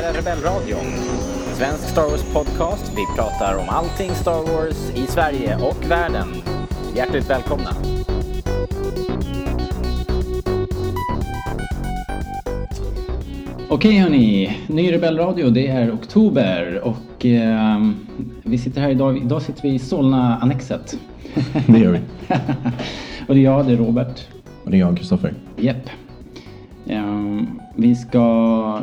FFL-radion. En svensk Star Wars-podcast. Vi pratar om allting Star Wars i Sverige och världen. Hjärtligt välkomna! Okej hörni, ny Rebellradio, det är oktober och ehm, vi sitter här idag, idag sitter vi i Solna-annexet. Det gör vi. och det är jag, det är Robert. Och det är jag, Kristoffer. Jepp. Ehm, vi ska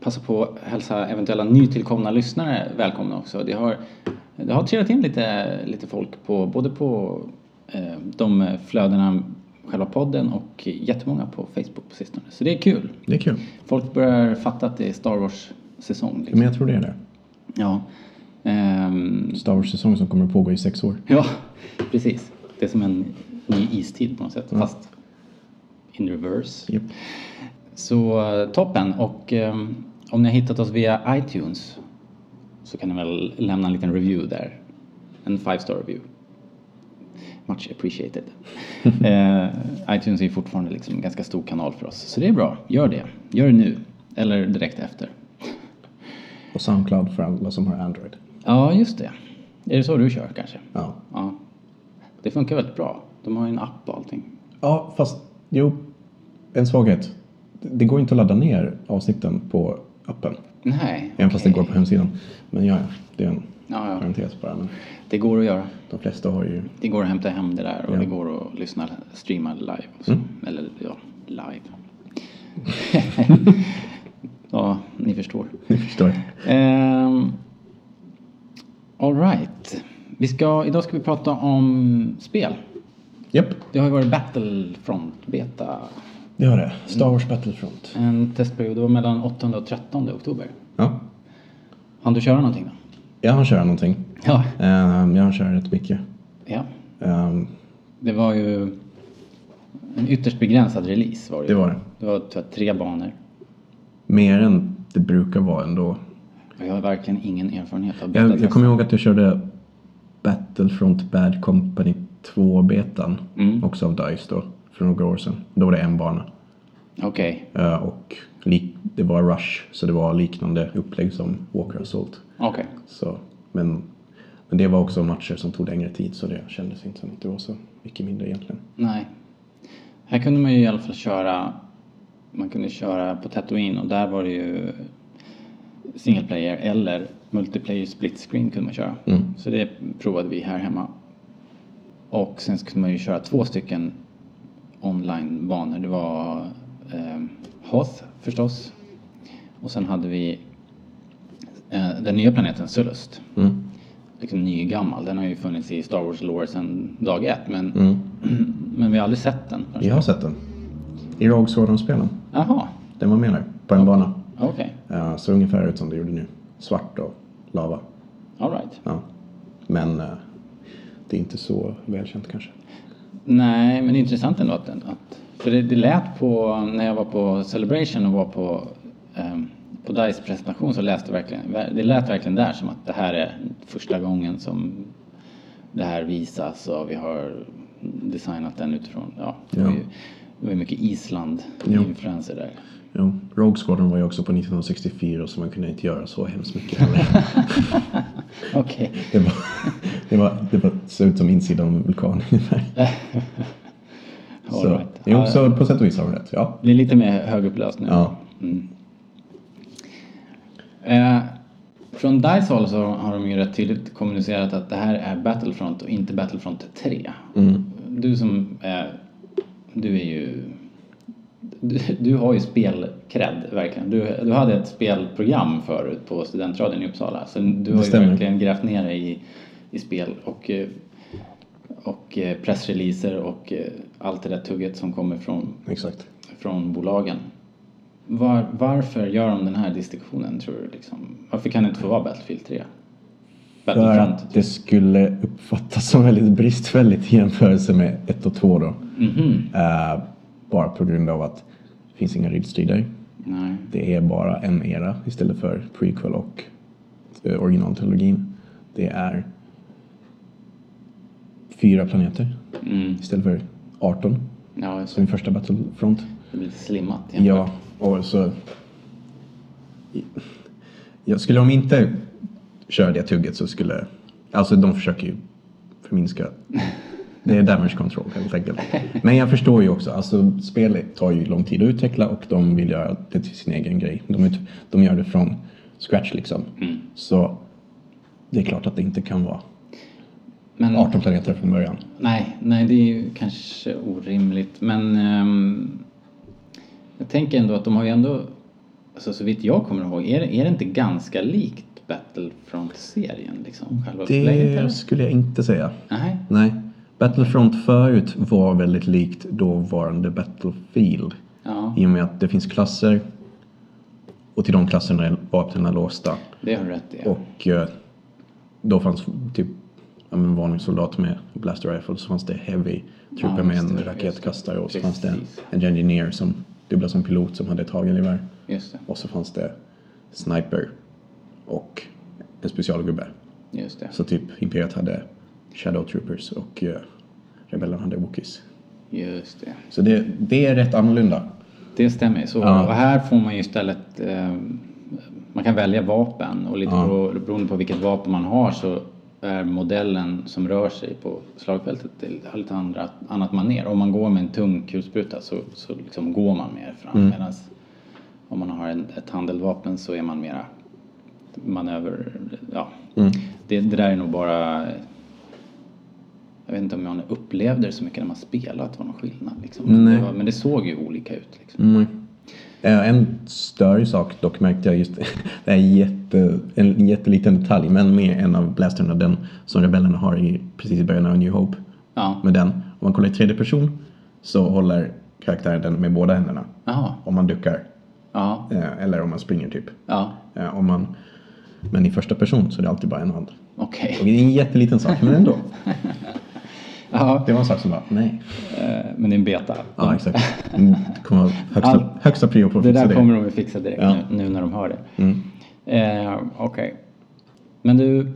passa på att hälsa eventuella nytillkomna lyssnare välkomna också. Det har, det har trillat in lite, lite folk på både på eh, de flödena, själva podden och jättemånga på Facebook på sistone. Så det är kul. Det är kul. Folk börjar fatta att det är Star Wars-säsong. Men Liksom. jag tror det är det. Ja. Ehm, Star Wars-säsong som kommer att pågå i sex år. ja, precis. Det är som en ny istid på något sätt, fast in reverse. Japp. Så eh, toppen. Och ehm, om ni har hittat oss via iTunes så kan ni väl lämna en liten review där. En five star review. Much appreciated. eh, iTunes är ju fortfarande liksom en ganska stor kanal för oss. Så det är bra. Gör det. Gör det nu. Eller direkt efter. Och Soundcloud för alla som har Android. Ja, just det. Är det så du kör kanske? Ja. Ja. Det funkar väldigt bra. De har ju en app och allting. Ja, fast jo. En svaghet. Det går inte att ladda ner avsnitten på appen. Nej. Även fast det okej. går på hemsidan. Men ja, ja. Det är en Ja, ja. parentes bara. Men Det går att göra. de flesta har ju... Det går att hämta hem det där och Ja. Mm. det går att lyssna, streama live. Och så. Eller ja, live. ja, ni förstår. Ni förstår. Ehm, all right. Vi ska, idag ska vi prata om spel. Japp, Det har ju varit Battlefront Beta. det har det. Star Wars Battlefront. En testperiod, det var mellan 8 och 13 oktober. Ja. Hann du köra någonting då? Jag har kört någonting. Ja. Ehm, Jag har kört rätt mycket. ja. Ehm, Det var ju en ytterst begränsad release var det ju. Det var det. Det var tror jag, tre banor. Mer än det brukar vara ändå. Och jag har verkligen ingen erfarenhet av Jag, betatest. jag kommer ihåg att jag körde Battlefront Bad Company 2-betan. Också av DICE då. För några år sedan. Då var det en bana. Okej. Eh, och lik, det var Rush. Så det var liknande upplägg som Walker Assault. Okej. Så, men, men det var också matcher som tog längre tid. Så det kändes inte som att det var så mycket mindre egentligen. Nej. Här kunde man ju i alla fall köra... Man kunde köra på Tatooine och där var det ju single player eller multiplayer split screen kunde man köra. Så det provade vi här hemma. Och sen så kunde man ju köra två stycken online-banor. Det var eh, Hoth förstås. Och sen hade vi eh, den nya planeten Sullust. Liksom nygammal. Den har ju funnits i Star Wars lore sedan dag ett men, men vi har aldrig sett den. Jag har sett den. I Rogue Squadron-spelen. Jaha, Den var med där. På en bana. okej. Eh, så ungefär ut som det gjorde nu. Svart och lava. All right. Ja. Men eh, det är inte så välkänt kanske. Nej, men det är intressant ändå att, den- att för det, det lät på, när jag var på Celebration och var på, ehm, på DICE presentation så läste verkligen, det lät verkligen där som att det här är första gången som det här visas och vi har designat den utifrån, ja, det var Ja. ju det var ju mycket Jo. Island-influenser där. Jo, Rogue Squadron var ju också på 1964 så man kunde inte göra så hemskt mycket heller. Okej. det, var, det, var, det var, såg ut som insidan av en vulkan ungefär. All Så, right. jo, Ja, så på sätt och vis har du rätt. Ja. Det är lite mer högupplöst nu. ja. Eh, från DICE håll så har de ju rätt tydligt kommunicerat att det här är Battlefront och inte Battlefront 3. Du som är, du är ju, du, du har ju spelcred verkligen. Du, du hade ett spelprogram förut på studentradion i Uppsala så du har ju stämmer. verkligen grävt ner dig i, i spel och, eh, och eh, pressreleaser och eh, allt det där tugget som kommer från Exakt. från bolagen. Var, varför gör de den här distinktionen tror du? Liksom? Varför kan det inte få vara Battlefield 3? För Battlefront? att det skulle uppfattas som väldigt bristfälligt i jämförelse med 1 och 2 då. Eh, bara på grund av att det finns inga ridstrider. Nej. Det är bara en era istället för prequel och eh, originaltrilogin. Det är fyra planeter Mm. istället för 18 Ja, som i första Battlefront. det blir lite slimmat. Ja, och så Jag skulle om inte köra det tugget så skulle... Alltså de försöker ju förminska. Det är damage control helt enkelt. Men jag förstår ju också, alltså spelet tar ju lång tid att utveckla och de vill göra det till sin egen grej. De, ut, de gör det från scratch liksom. Så det är klart att det inte kan vara Men, 18 planeter från början. Nej, nej, det är ju kanske orimligt. Men ehm, jag tänker ändå att de har ju ändå, alltså, så vitt jag kommer ihåg, är, det- är det inte ganska likt Battlefront-serien? Liksom, själva upplägget? eller? Det skulle jag inte säga. Nej, Nej. Battlefront förut var väldigt likt dåvarande Battlefield. ja, I och med att det finns klasser. Och till de klasserna är vapnen är låsta. det har du rätt i. Och eh, då fanns typ ja, men vanlig soldat med blaster rifle. Så fanns det heavy trooper Ja, med just en det, raketkastare. Och så Precis. fanns det en, en engineer som dubblade som pilot som hade ett hagelgevär. Just Och så fanns det sniper. Och en specialgubbe. det, just det. Så typ Imperiet hade Shadow Troopers och eh, Rebellerna hade Wookies. Just det. Så det, det är rätt annorlunda. Det stämmer. Så, Ja. Och här får man ju istället... Eh, man kan välja vapen och lite Ja. bero, beroende på vilket vapen man har så är modellen som rör sig på slagfältet det har lite andra, annat maner. Om man går med en tung kulspruta så, så liksom går man mer fram Mm. medan om man har en, ett handeldvapen så är man mera manöver... Ja. Mm. Det, det där är nog bara... Jag vet inte om man upplevde det så mycket när man spelat att det var någon skillnad. Liksom. Nej. Det var, men det såg ju olika ut. Liksom. Eh, En större sak dock märkte jag just, det är jätte, en jätteliten detalj, men med en av blasterna, den som rebellerna har i, precis i början av New Hope. Ja. Med den, om man kollar i tredje person så håller karaktären den med båda händerna. Jaha. Om man duckar, Ja. eh, eller om man springer typ. Ja. Eh, Om man, men i första person så är det alltid bara en hand. Okej. Och det är en jätteliten sak, men ändå. Ja. Det var en sak som bara, nej. eh, Men det är en beta. Ja, exakt. Mm, Det kommer vara högsta, högsta prio på att Det fixa där kommer de ju fixa direkt Ja. Mm. nu, nu när de hör det. Eh, Okej. Men du,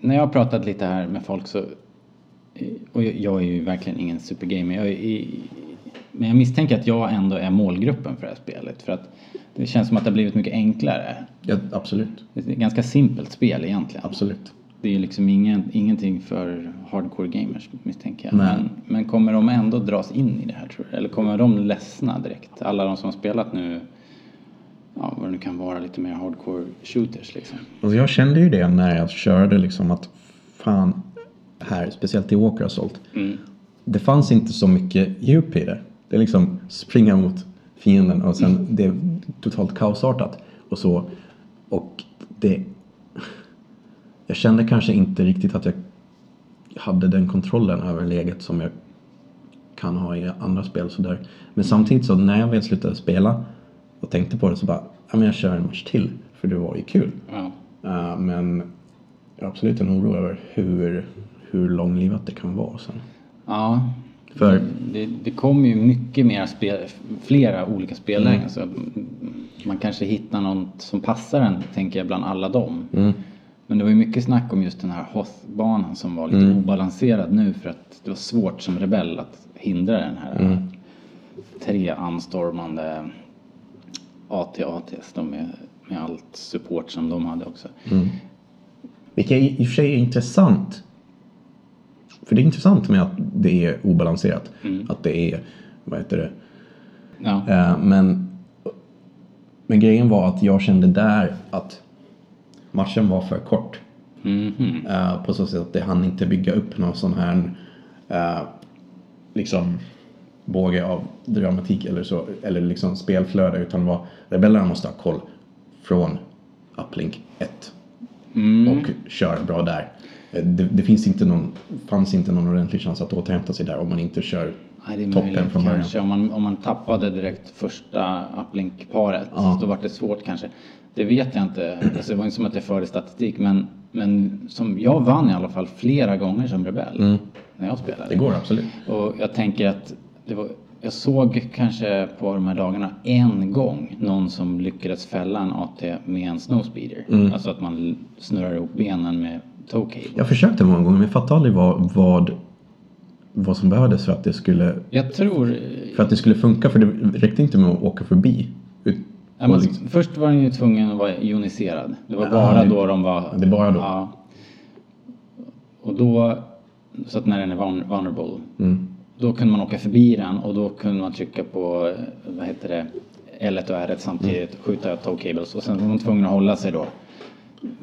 när jag har pratat lite här med folk så... eh, Och jag- jag är ju verkligen ingen supergamer. Jag är, i- men jag misstänker att jag ändå är målgruppen för det här spelet. För att det känns som att det har blivit mycket enklare. Ja, absolut. Det är ett ganska simpelt spel egentligen. Absolut. Det är ju liksom ingen, ingenting för hardcore gamers misstänker jag. Nej. Men, men kommer de ändå dras in i det här tror du? Eller kommer de ledsna direkt? Alla de som har spelat nu, ja vad det nu kan vara, lite mer hardcore shooters liksom. Alltså jag kände ju det när jag körde liksom att fan, här, speciellt i Walker Assault. Det fanns inte så mycket djup i det. Det är liksom springa mot fienden och sen det är totalt kaosartat. Och så, och det... Jag kände kanske inte riktigt att jag hade den kontrollen över läget som jag kan ha i andra spel sådär. Men samtidigt så när jag väl slutade spela och tänkte på det så bara, ja men jag kör en match till för det var ju kul. Ja, Eh, men jag har absolut en oro över hur, hur långlivat det kan vara sen. ja För det, det kommer ju mycket mer spel, flera olika spellägen. Så man kanske hittar något som passar en, tänker jag, bland alla dem. Men det var ju mycket snack om just den här Hoth-banan som var lite obalanserad nu för att det var svårt som rebell att hindra den här tre anstormande AT-ATs. De med, med allt support som de hade också. Vilket i i och för sig är intressant. För det är intressant med att det är obalanserat. Att det är, vad heter det? Ja. Eh, men, men grejen var att jag kände där att matchen var för kort. Eh, på så sätt att det hann inte bygga upp någon sån här eh, liksom båge av dramatik eller så. Eller liksom spelflöde. Utan vad rebellerna måste ha koll från uplink 1 och köra bra där. Eh, Det, det finns inte någon, fanns inte någon ordentlig chans att återhämta sig där om man inte kör Nej, det är toppen möjligt från början. kanske. Om man, om man tappade direkt första uplink-paret då var det svårt kanske. Det vet jag inte. Alltså, det var inte som att jag förde statistik men, men som jag vann i alla fall flera gånger som rebell när jag spelade. Mm. Det går absolut. Och jag tänker att det var, jag såg kanske på de här dagarna en gång någon som lyckades fälla en AT med en snowspeeder. Mm. Alltså att man snurrar ihop benen med toe cable. Jag försökte många gånger men jag fattade aldrig vad, vad, vad som behövdes för att, det skulle, Jag tror för att det skulle funka. För det räckte inte med att åka förbi. Ut- liksom- Ja, men Först var den ju tvungen att vara ioniserad. Det var bara det- då de var... det är bara då. Ja. Och då, så att när den är vulner- vulnerable, Mm. då kunde man åka förbi den och då kunde man trycka på, eh, vad heter det, L1 och R1 samtidigt, Mm. skjuta toe cables och sen var man tvungen att hålla sig då.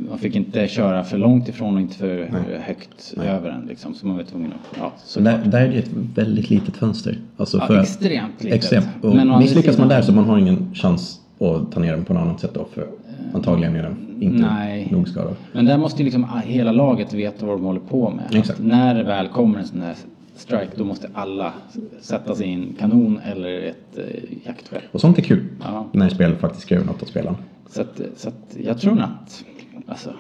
Man fick inte köra för långt ifrån och inte för högt över den liksom, så man var tvungen att... Ja, så Så där, där är det ett väldigt litet fönster. Alltså Ja, för, extremt litet. Extremt. Och Men å andra misslyckas man sidan- där så man har ingen chans att ta ner den på något annat sätt då. För antagligen är den inte nej. nog skadad. Men där måste ju liksom hela laget veta vad de håller på med. Exakt. Att När det väl kommer en sån här strike då måste alla sätta sig i en kanon eller ett eh, jaktskepp. Och sånt är kul. Ja. När spelet faktiskt skriver något åt spelaren. Så, att, eh, så att jag tror nog att alltså,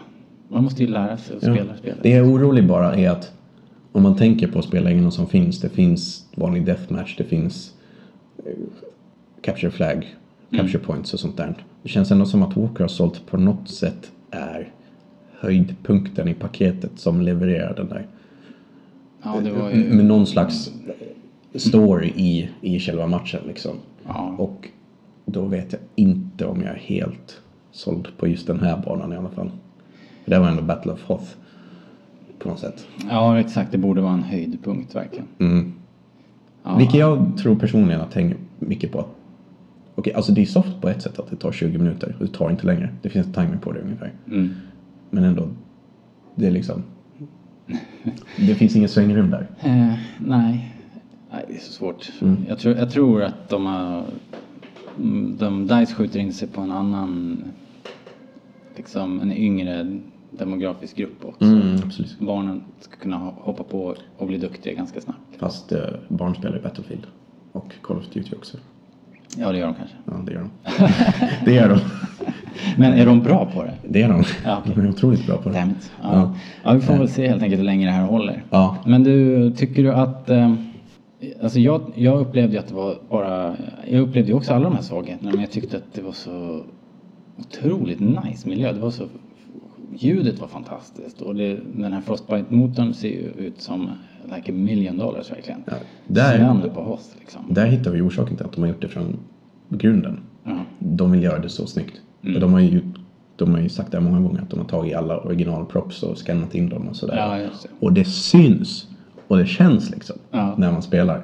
man måste ju lära sig att spela spelet. Det jag är orolig bara är att om man tänker på spelreglerna som finns. Det finns vanlig deathmatch, det finns eh, capture flag, capture points och sånt där. Det känns ändå som att Walker Assault på något sätt är höjdpunkten i paketet som levererar den där Ja, det var ju... med någon slags story i, i själva matchen liksom. Ja. Och då vet jag inte om jag är helt såld på just den här banan i alla fall. För det var ändå Battle of Hoth på något sätt. ja, exakt. Det borde vara en höjdpunkt verkligen. Mm. Ja. Vilket jag tror personligen att hänger mycket på. Okej, alltså det är soft på ett sätt att det tar 20 minuter och det tar inte längre. Det finns en timer på det ungefär. Mm. Men ändå, det är liksom... Det finns ingen svängrum där. Eh, nej. nej, det är så svårt. Mm. Jag, tror, jag tror att de har... mm, De DICE skjuter in sig på en annan... Liksom en yngre demografisk grupp också. Mm, absolut. Barnen ska kunna ho- hoppa på och bli duktiga ganska snabbt. Fast eh, barn spelar i Battlefield och Call of Duty också. Ja, det gör de kanske. Ja, det gör de. det gör de. Men är de bra på det? Det gör de. Ja, okej. De är otroligt bra på det. Damn it. Ja. ja, vi får väl se helt enkelt hur länge det här håller. Ja. Men du, tycker du att... Eh, alltså jag, jag upplevde ju att det var bara... Jag upplevde ju också alla de här svagheterna men jag tyckte att det var så otroligt nice miljö. Det var så... Ljudet var fantastiskt och det, den här Frostbite-motorn ser ju ut som like a million dollars verkligen. Ja, där- Snön på oss liksom. Där hittar vi orsaken till att de har gjort det från grunden. Ja. De vill göra det så snyggt. Mm. Och de, har ju, de har ju sagt det här många gånger att de har tagit alla originalprops och skannat in dem och sådär. Ja, just det. Och det syns och det känns liksom Ja. när man spelar. Ja,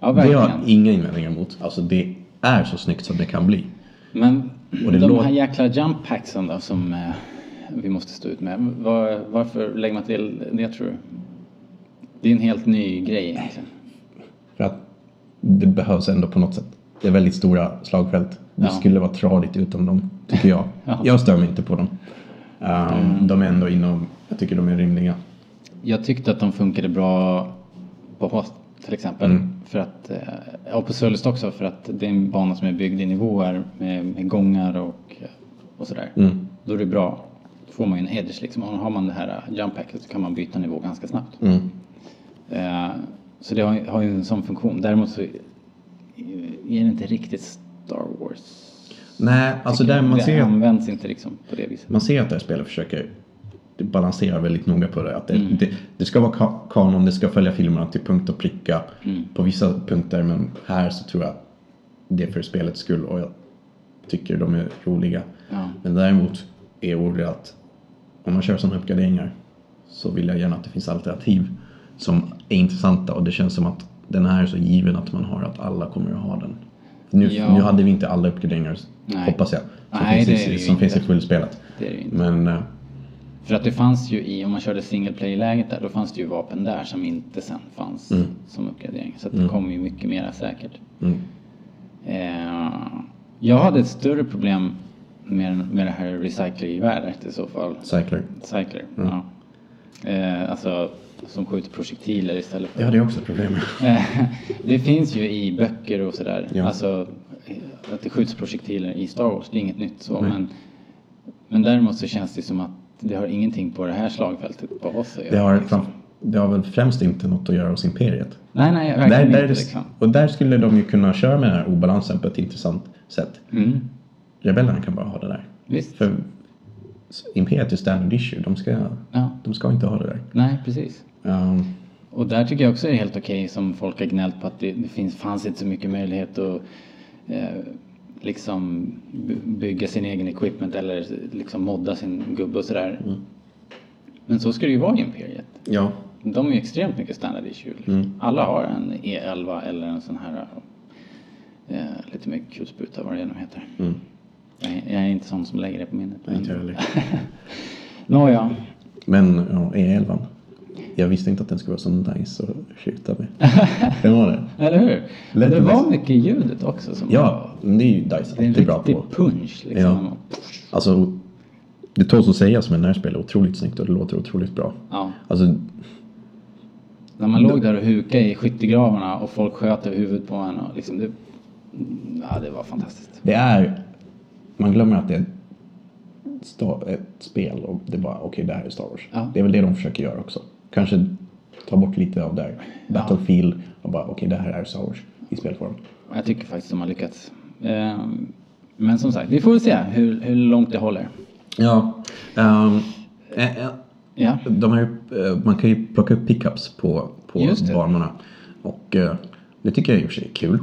Det har verkligen. jag inga invändningar mot. Alltså det är så snyggt som det kan bli. Men Och det de låter- här jäkla jump packsen då som eh, vi måste stå ut med. Var, varför lägger man till det tror du? Det är en helt ny grej egentligen. För att det behövs ändå på något sätt. Det är väldigt stora slagfält. Det Ja. skulle vara tradigt utan dem, tycker jag. Ja. Mm. Jag stör mig inte på dem. Um, De är ändå inom, jag tycker de är rimliga. Jag tyckte att de funkade bra på host till exempel. Mm. För att, eh, och på Sölvest också för att det är en bana som är byggd i nivåer med, med gångar och, och sådär. Mm. Då är det bra. Då får man ju en edge liksom. Och har man det här eh, jump packet så kan man byta nivå ganska snabbt. Mm. Eh, så det har, ju- har ju en sån funktion. Däremot så är är det inte riktigt Star Wars. Nej, alltså där man det ser, att, används inte liksom på det viset. man ser att det här spelet försöker balansera väldigt noga på det. Att det, Mm. det, det ska vara ka- kanon, det ska följa filmerna till punkt och pricka Mm. på vissa punkter. Men här så tror jag att det är för spelets skull och jag tycker de är roliga. Ja. Men däremot är jag orolig att om man kör sådana uppgraderingar så vill jag gärna att det finns alternativ som är intressanta och det känns som att den här är så given att man har att alla kommer att ha den. Nu, Ja. nu hade vi inte alla uppgraderingar, Nej. hoppas jag, som, Nej, finns, det är i, det som ju finns i inte. fullspelet. Det är det ju inte. Men eh, För att det fanns ju i, om man körde single play-läget där, då fanns det ju vapen där som inte sen fanns som uppgradering. Så att det kom ju mycket mera säkert. Eh, jag hade ett större problem med, med det här recyclergeväret i så fall. Cycler. Cycler, ja. Eh, alltså som skjuter projektiler istället för Det hade jag också problem med. Eh, Det finns ju i böcker och sådär. Ja. Alltså eh, att det skjuts projektiler i Star Wars, det är inget nytt så. Men, men däremot så känns det som att det har ingenting på det här slagfältet på oss att göra. Det har, fram, det har väl främst inte något att göra hos Imperiet. Nej, nej, verkligen Där, inte. där, är det- liksom. och där skulle de ju kunna köra med den här obalansen på ett intressant sätt. mm, Rebellerna kan bara ha det där. visst. För Imperiet är standard issue, de ska, Ja. de ska inte ha det där. Nej, precis. Ehm, Och där tycker jag också det är helt okej som folk har gnällt på att det, det finns, fanns inte så mycket möjlighet att eh, liksom by- bygga sin egen equipment eller liksom modda sin gubbe och sådär. Mm. Men så ska det ju vara i Imperiet. Ja, De är ju extremt mycket standard issue. Liksom. Mm. Alla har en E11 eller en sån här eh, lite mer kulspruta vad det nu heter. Jag, är- jag är inte sån som lägger det på minnet. men- Mm. inte jag heller. Nåja, Men ja, E11. Jag visste inte att den skulle vara så nice att skjuta med. Den var det. eller hur? Lät det det var mest- mycket i ljudet också. Som Ja, men det är ju Dice Det är en alltid bra riktig på. punch liksom. Ja. Alltså, det tåls att säga som en närspel är otroligt snyggt och det låter otroligt bra. Ja. Alltså, När man låg där och hukade i skyttegravarna och folk sköt över huvudet på en och liksom det... Ja, det var fantastiskt. det är... Man glömmer att det är ett sta- ett spel och det är bara, okej, det här är Star Wars. Ja. Det är väl det de försöker göra också. Kanske ta bort lite av det här Battlefield och bara, okej, det här är Star Wars i spelform. Och Jag tycker faktiskt de har lyckats. Ehm, Men som sagt, vi får väl se hur, hur långt det håller. Ja. ehm, eh, eh, Ja, De här, eh, man kan ju plocka upp pickups på, på Just det. banorna. Och eh, det tycker jag i och för sig är kul.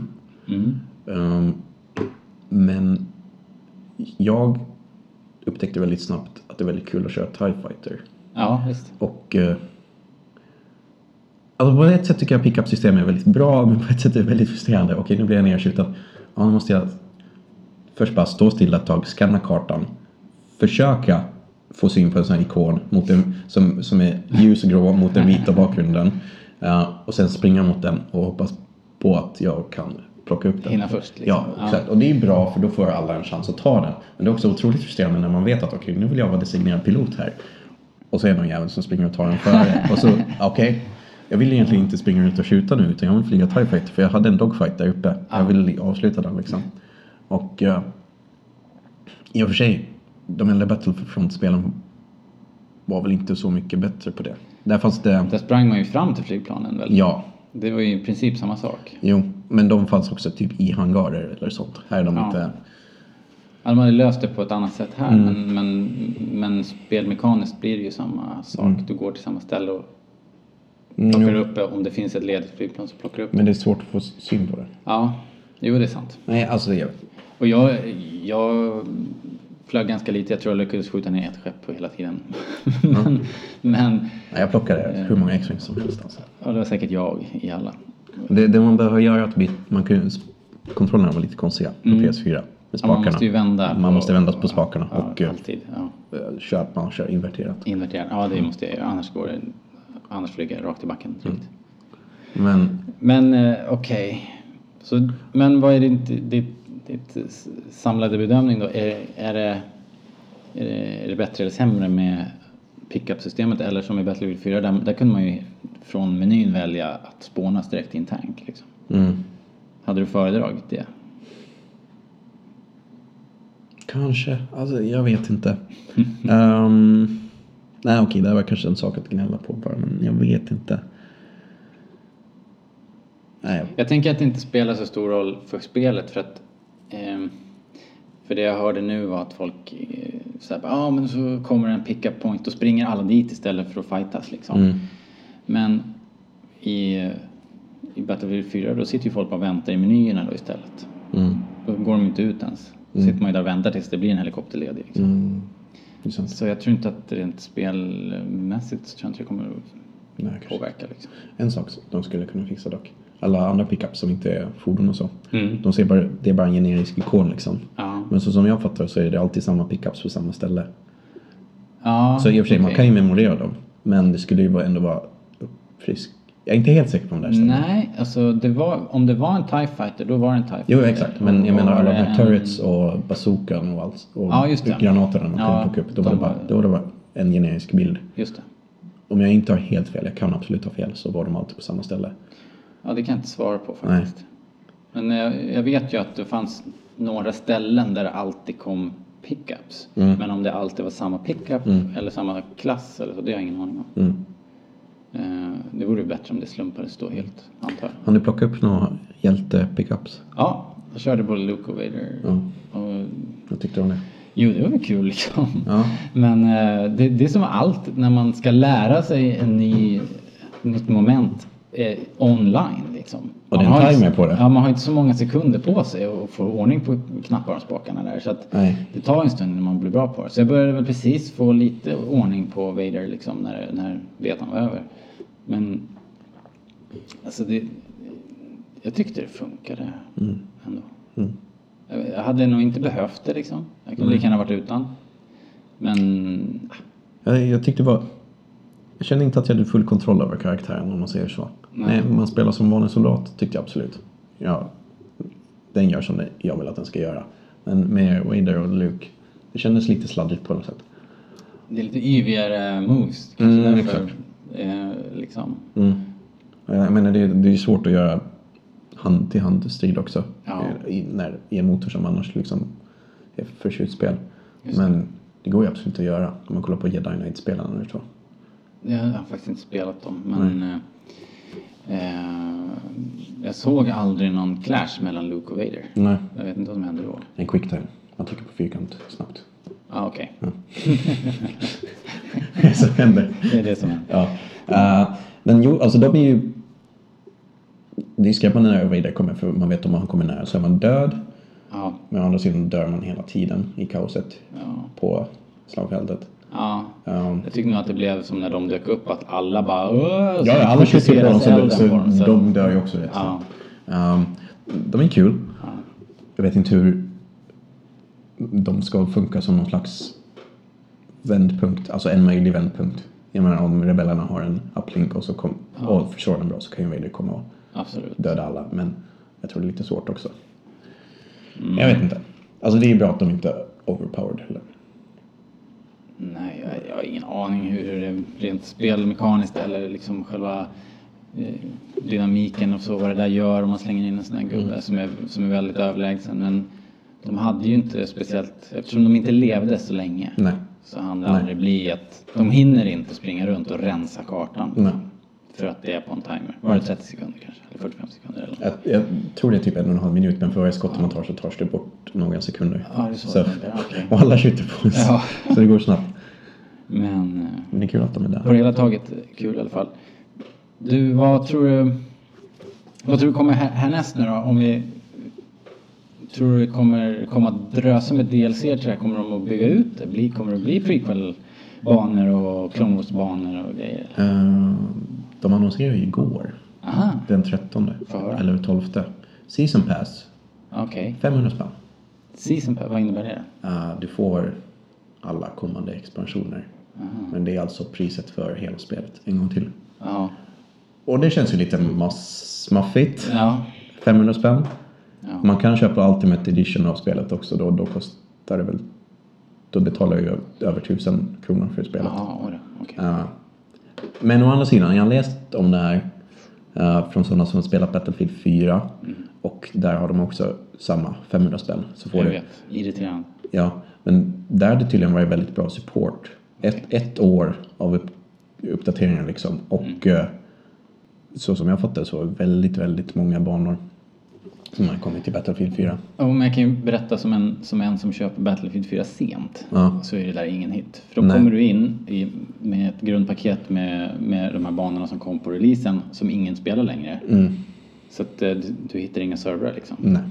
Mm. Ehm, men jag upptäckte väldigt snabbt att det är väldigt kul att köra TIE Fighter. ja visst. Och eh, alltså på ett sätt tycker jag pickup-systemet är väldigt bra, men på ett sätt är det väldigt frustrerande. Okej, nu blir jag nerskjuten. Ja, nu måste jag först bara stå stilla ett tag, scanna kartan, försöka få syn på en sån här ikon mot en, som, som är ljusgrå mot den vita bakgrunden. Eh, och sen springa mot den och hoppas på att jag kan plocka upp den. Hinna först, liksom. Ja, exakt. Och det är ju bra för då får alla en chans att ta den. Men det är också otroligt frustrerande när man vet att okej, nu vill jag vara designerad pilot här. Och så är det någon jävel som springer och tar den före. Och så, okej. jag vill egentligen inte springa runt och skjuta nu utan jag vill flyga TIE Fighter för jag hade en dogfight där uppe. Jag vill avsluta den liksom. Och eh, i och för sig, de äldre Battlefront-spelen var väl inte så mycket bättre på det. Där fanns det, Där sprang man ju fram till flygplanen väl? ja, Det var ju i princip samma sak. jo, men de fanns också typ i hangarer eller sånt. Här är de Ja. inte, Ja, De hade löst Alltså, det på ett annat sätt här men, Mm. men, men spelmekaniskt blir det ju samma sak. Mm. Du går till samma ställe och plockar upp det. Om det finns ett ledigt flygplan så plockar du upp det. men det är svårt att få syn på det. Ja, jo det är sant. Nej, alltså det är Och jag, jag flög ganska lite. Jag tror jag lyckades skjuta ner ett skepp på hela tiden. Mm. men, men Nej, jag plockade hur många X-Wings som helst alltså. ja, det var säkert jag i alla. Det, det man behöver göra är att bit- man kan, kontrollerna var lite konstiga på PS4 med Ja, Mm. man spakarna. måste ju vända. Man måste vända på spakarna ja, och eh, alltid. Ja. eh, köra att man kör inverterat. Invertera. Ja, det måste jag göra. Annars, går det, annars flyger jag rakt i backen. direkt. Men Men eh, okej. Så, Men vad är ditt, ditt, ditt s- samlade bedömning då? Är, är, det, är, det, är det bättre eller sämre med pickup-systemet eller som i Battlefield 4 där, där kunde man ju från menyn välja att spånas direkt i en tank liksom. mm, Hade du föredragit det? kanske, alltså jag vet inte. Ehm, nej okej, det här var kanske en sak att gnälla på bara, men jag vet inte. Nej, Jag tänker att det inte spelar så stor roll för spelet för att ehm, för det jag hörde nu var att folk eh, såhär, ja ah, men så kommer en pick-up point och springer alla dit istället för att fightas liksom. Mm. Men i, i Battlefield 4 då sitter ju folk bara och väntar i menyerna då istället. mm, Då går de inte ut ens. Då sitter man ju där och väntar tills det blir en helikopter ledig. Liksom. mm, det är sant. Så jag tror inte att rent spelmässigt så tror jag inte det kommer att Nej, kanske. påverka liksom. En sak som de skulle kunna fixa dock. Alla andra pickups som inte är fordon och så. Mm. De ser bara, det är bara en generisk ikon liksom. Ja. Men så som jag fattar så är det alltid samma pickups på samma ställe. Ja, Så i och för sig, man okej. kan ju memorera dem. Men det skulle ju vara- ändå vara frisk. Jag är inte helt säker på om det här stämmer. Nej, alltså det var, om det var en TIE fighter då var det en TIE fighter. Jo, exakt. Men jag Och menar var alla det de här en- turrets och bazookan och allt. Och Ja, just det. granaterna man Ja, kunde plocka upp. Då var, de det bara, var- då var det bara en generisk bild. Just det. Om jag inte har helt fel, jag kan absolut ha fel, så var de alltid på samma ställe. Ja, det kan jag inte svara på faktiskt. Men jag, jag vet ju att det fanns några ställen där det alltid kom pickups. Mm. Men om det alltid var samma pickup eller samma klass eller så, det har jag ingen aning om. Mm. Eh, det vore ju bättre om det slumpades då helt, antar jag. Har ni plockat upp några hjälte-pickups? Ja, jag körde både Luke och Vader. Och, Vad tyckte du om det? jo, det var väl kul liksom. Ja. Men eh, det, det är som allt när man ska lära sig en ny, ett nytt moment eh, online. liksom. Och det är Man en har inte- timer på det. Ja, man har inte så många sekunder på sig att få ordning på knapparna och spakarna där. Så att Nej. det tar en stund innan man blir bra på det. Så jag började väl precis få lite ordning på Vader liksom när, när betan var över. Men alltså det, jag tyckte det funkade Mm. ändå. Jag- Jag hade nog inte behövt det liksom. Jag kunde lika gärna varit utan. Men ah, Jag, jag tyckte bara... Jag kände inte att jag hade full kontroll över karaktären om man säger så. Nej, man spelar som vanlig soldat tyckte jag absolut. Ja, den gör som det- jag vill att den ska göra. Men med Wader och Luke, det kändes lite sladdigt på något sätt. Det är lite yvigare moves kanske Mm, därför. exakt. Eh, liksom. Och Jag menar, det, är- det är ju svårt att göra hand till hand strid också. Ja. I, när, I en motor som annars liksom är för skjutspel. Men det går ju absolut att göra om man kollar på Jedi Knight-spelarna nu tror jag. Jag har faktiskt inte spelat dem men eh, eh, jag såg aldrig någon clash mellan Luke och Vader. Nej. Jag vet inte vad som hände då. En quick time. Man trycker på fyrkant snabbt. Ah, okej. Det som händer. Det är det som hände. Ja. Eh, men jo, alltså de är ju... Det är skrämmande när Vader kommer för man vet om han kommer nära så är man död. Ja, Men å andra sidan dör man hela tiden i kaoset ja, på slagfältet. ja. Um, Jag tycker nog att det blev som när de dök upp att alla bara "Åh", så ja, alla skjuter på dem så, elden det- så på dem, så- de dör ju också rätt Ja. snabbt. Ehm, De är kul. Jag vet inte hur de ska funka som någon slags vändpunkt, alltså en möjlig vändpunkt. Jag menar om rebellerna har en uplink och, så kom, och försvarar den bra så kan ju Vader komma och Absolut. döda alla. Men jag tror det är lite svårt också. Jag vet inte. Alltså det är ju bra att de inte är overpowered heller. Nej, jag, jag har ingen aning hur det rent spelmekaniskt eller liksom själva eh, dynamiken och så vad det där gör om man slänger in en sån här gubbe Mm. som, är, som är väldigt överlägsen. Men de hade ju inte speciellt, eftersom de inte levde så länge Nej. så hann det aldrig bli att de hinner inte springa runt och rensa kartan. Nej. För att det är på en timer. Var det 30 sekunder kanske? Eller 45 sekunder eller något? Jag, jag tror det är typ en och en halv minut men för varje skott man tar så tar det bort några sekunder. Ja, det är så det funkar, okej. och alla skjuter på oss. Ja. Så det går snabbt. Men eh, Men det är kul att de är På det där. hela taget kul i alla fall. Du, vad tror du... Vad tror du kommer här, härnäst nu då? Om vi... Tror du det kommer komma att drösa med DLC till det här? Kommer de att bygga ut det? Bli, kommer det bli prequel-banor och Clone Wars-banor och grejer? Eh, De annonserade ju igår, Aha, den 13 Får höra. eller 12. Season pass, okej. 500. 500 spänn. Season Pass, vad innebär det? Eh, Du får alla kommande expansioner. Mm. Men det är alltså priset för hela spelet en gång till. Ja. Och det känns ju lite mass- maffigt. Ja. 500 spänn. Ja. Man kan köpa Ultimate Edition av spelet också. Då, då kostar det väl... Då betalar jag ju över 1000 kronor för spelet. Jaha, oj då, okej. Ja. Men å andra sidan, jag har läst om det här eh, från sådana som spelat Battlefield 4. Mm. Och där har de också samma 500 spänn. Så får Jag du, vet. Irriterande. ja, men där har det tydligen varit väldigt bra support. Ett, ett år av upp, uppdateringar liksom. Och Mm. eh, så som jag fattar så väldigt, väldigt många banor som har kommit till Battlefield 4. Om jag kan ju berätta som en, som en som köper Battlefield 4 sent Ja. så är det där ingen hit. För då Nej. kommer du in i, med ett grundpaket med, med de här banorna som kom på releasen som ingen spelar längre. Mm. Så att eh, du, du hittar inga servrar liksom. Nej.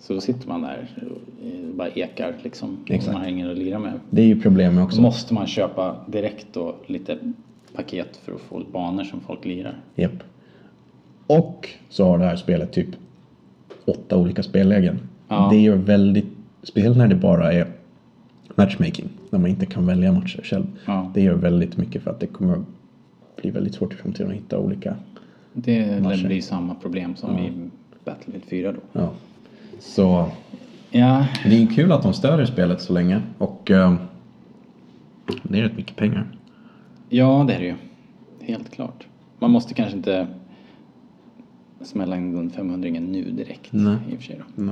Så då sitter man där och eh, bara ekar liksom. Exakt. Och man har ingen att lira med. Det är ju problem också. Så måste man köpa direkt då lite paket för att få banor som folk lirar. Japp. Och så har det här spelet typ åtta olika spellägen. Ja. Det är väldigt, speciellt när det bara är matchmaking, när man inte kan välja matcher själv. Ja. Det gör väldigt mycket för att det kommer bli väldigt svårt i framtiden att hitta olika. Det lär bli samma problem som i Battlefield 4 då. Ja. Så Ja, det är kul att de stödjer spelet så länge och eh, det är rätt mycket pengar. Ja, det är det ju. Helt klart. Man måste kanske inte smälla in den 500 nu direkt. Nej. Mm. I och för sig då.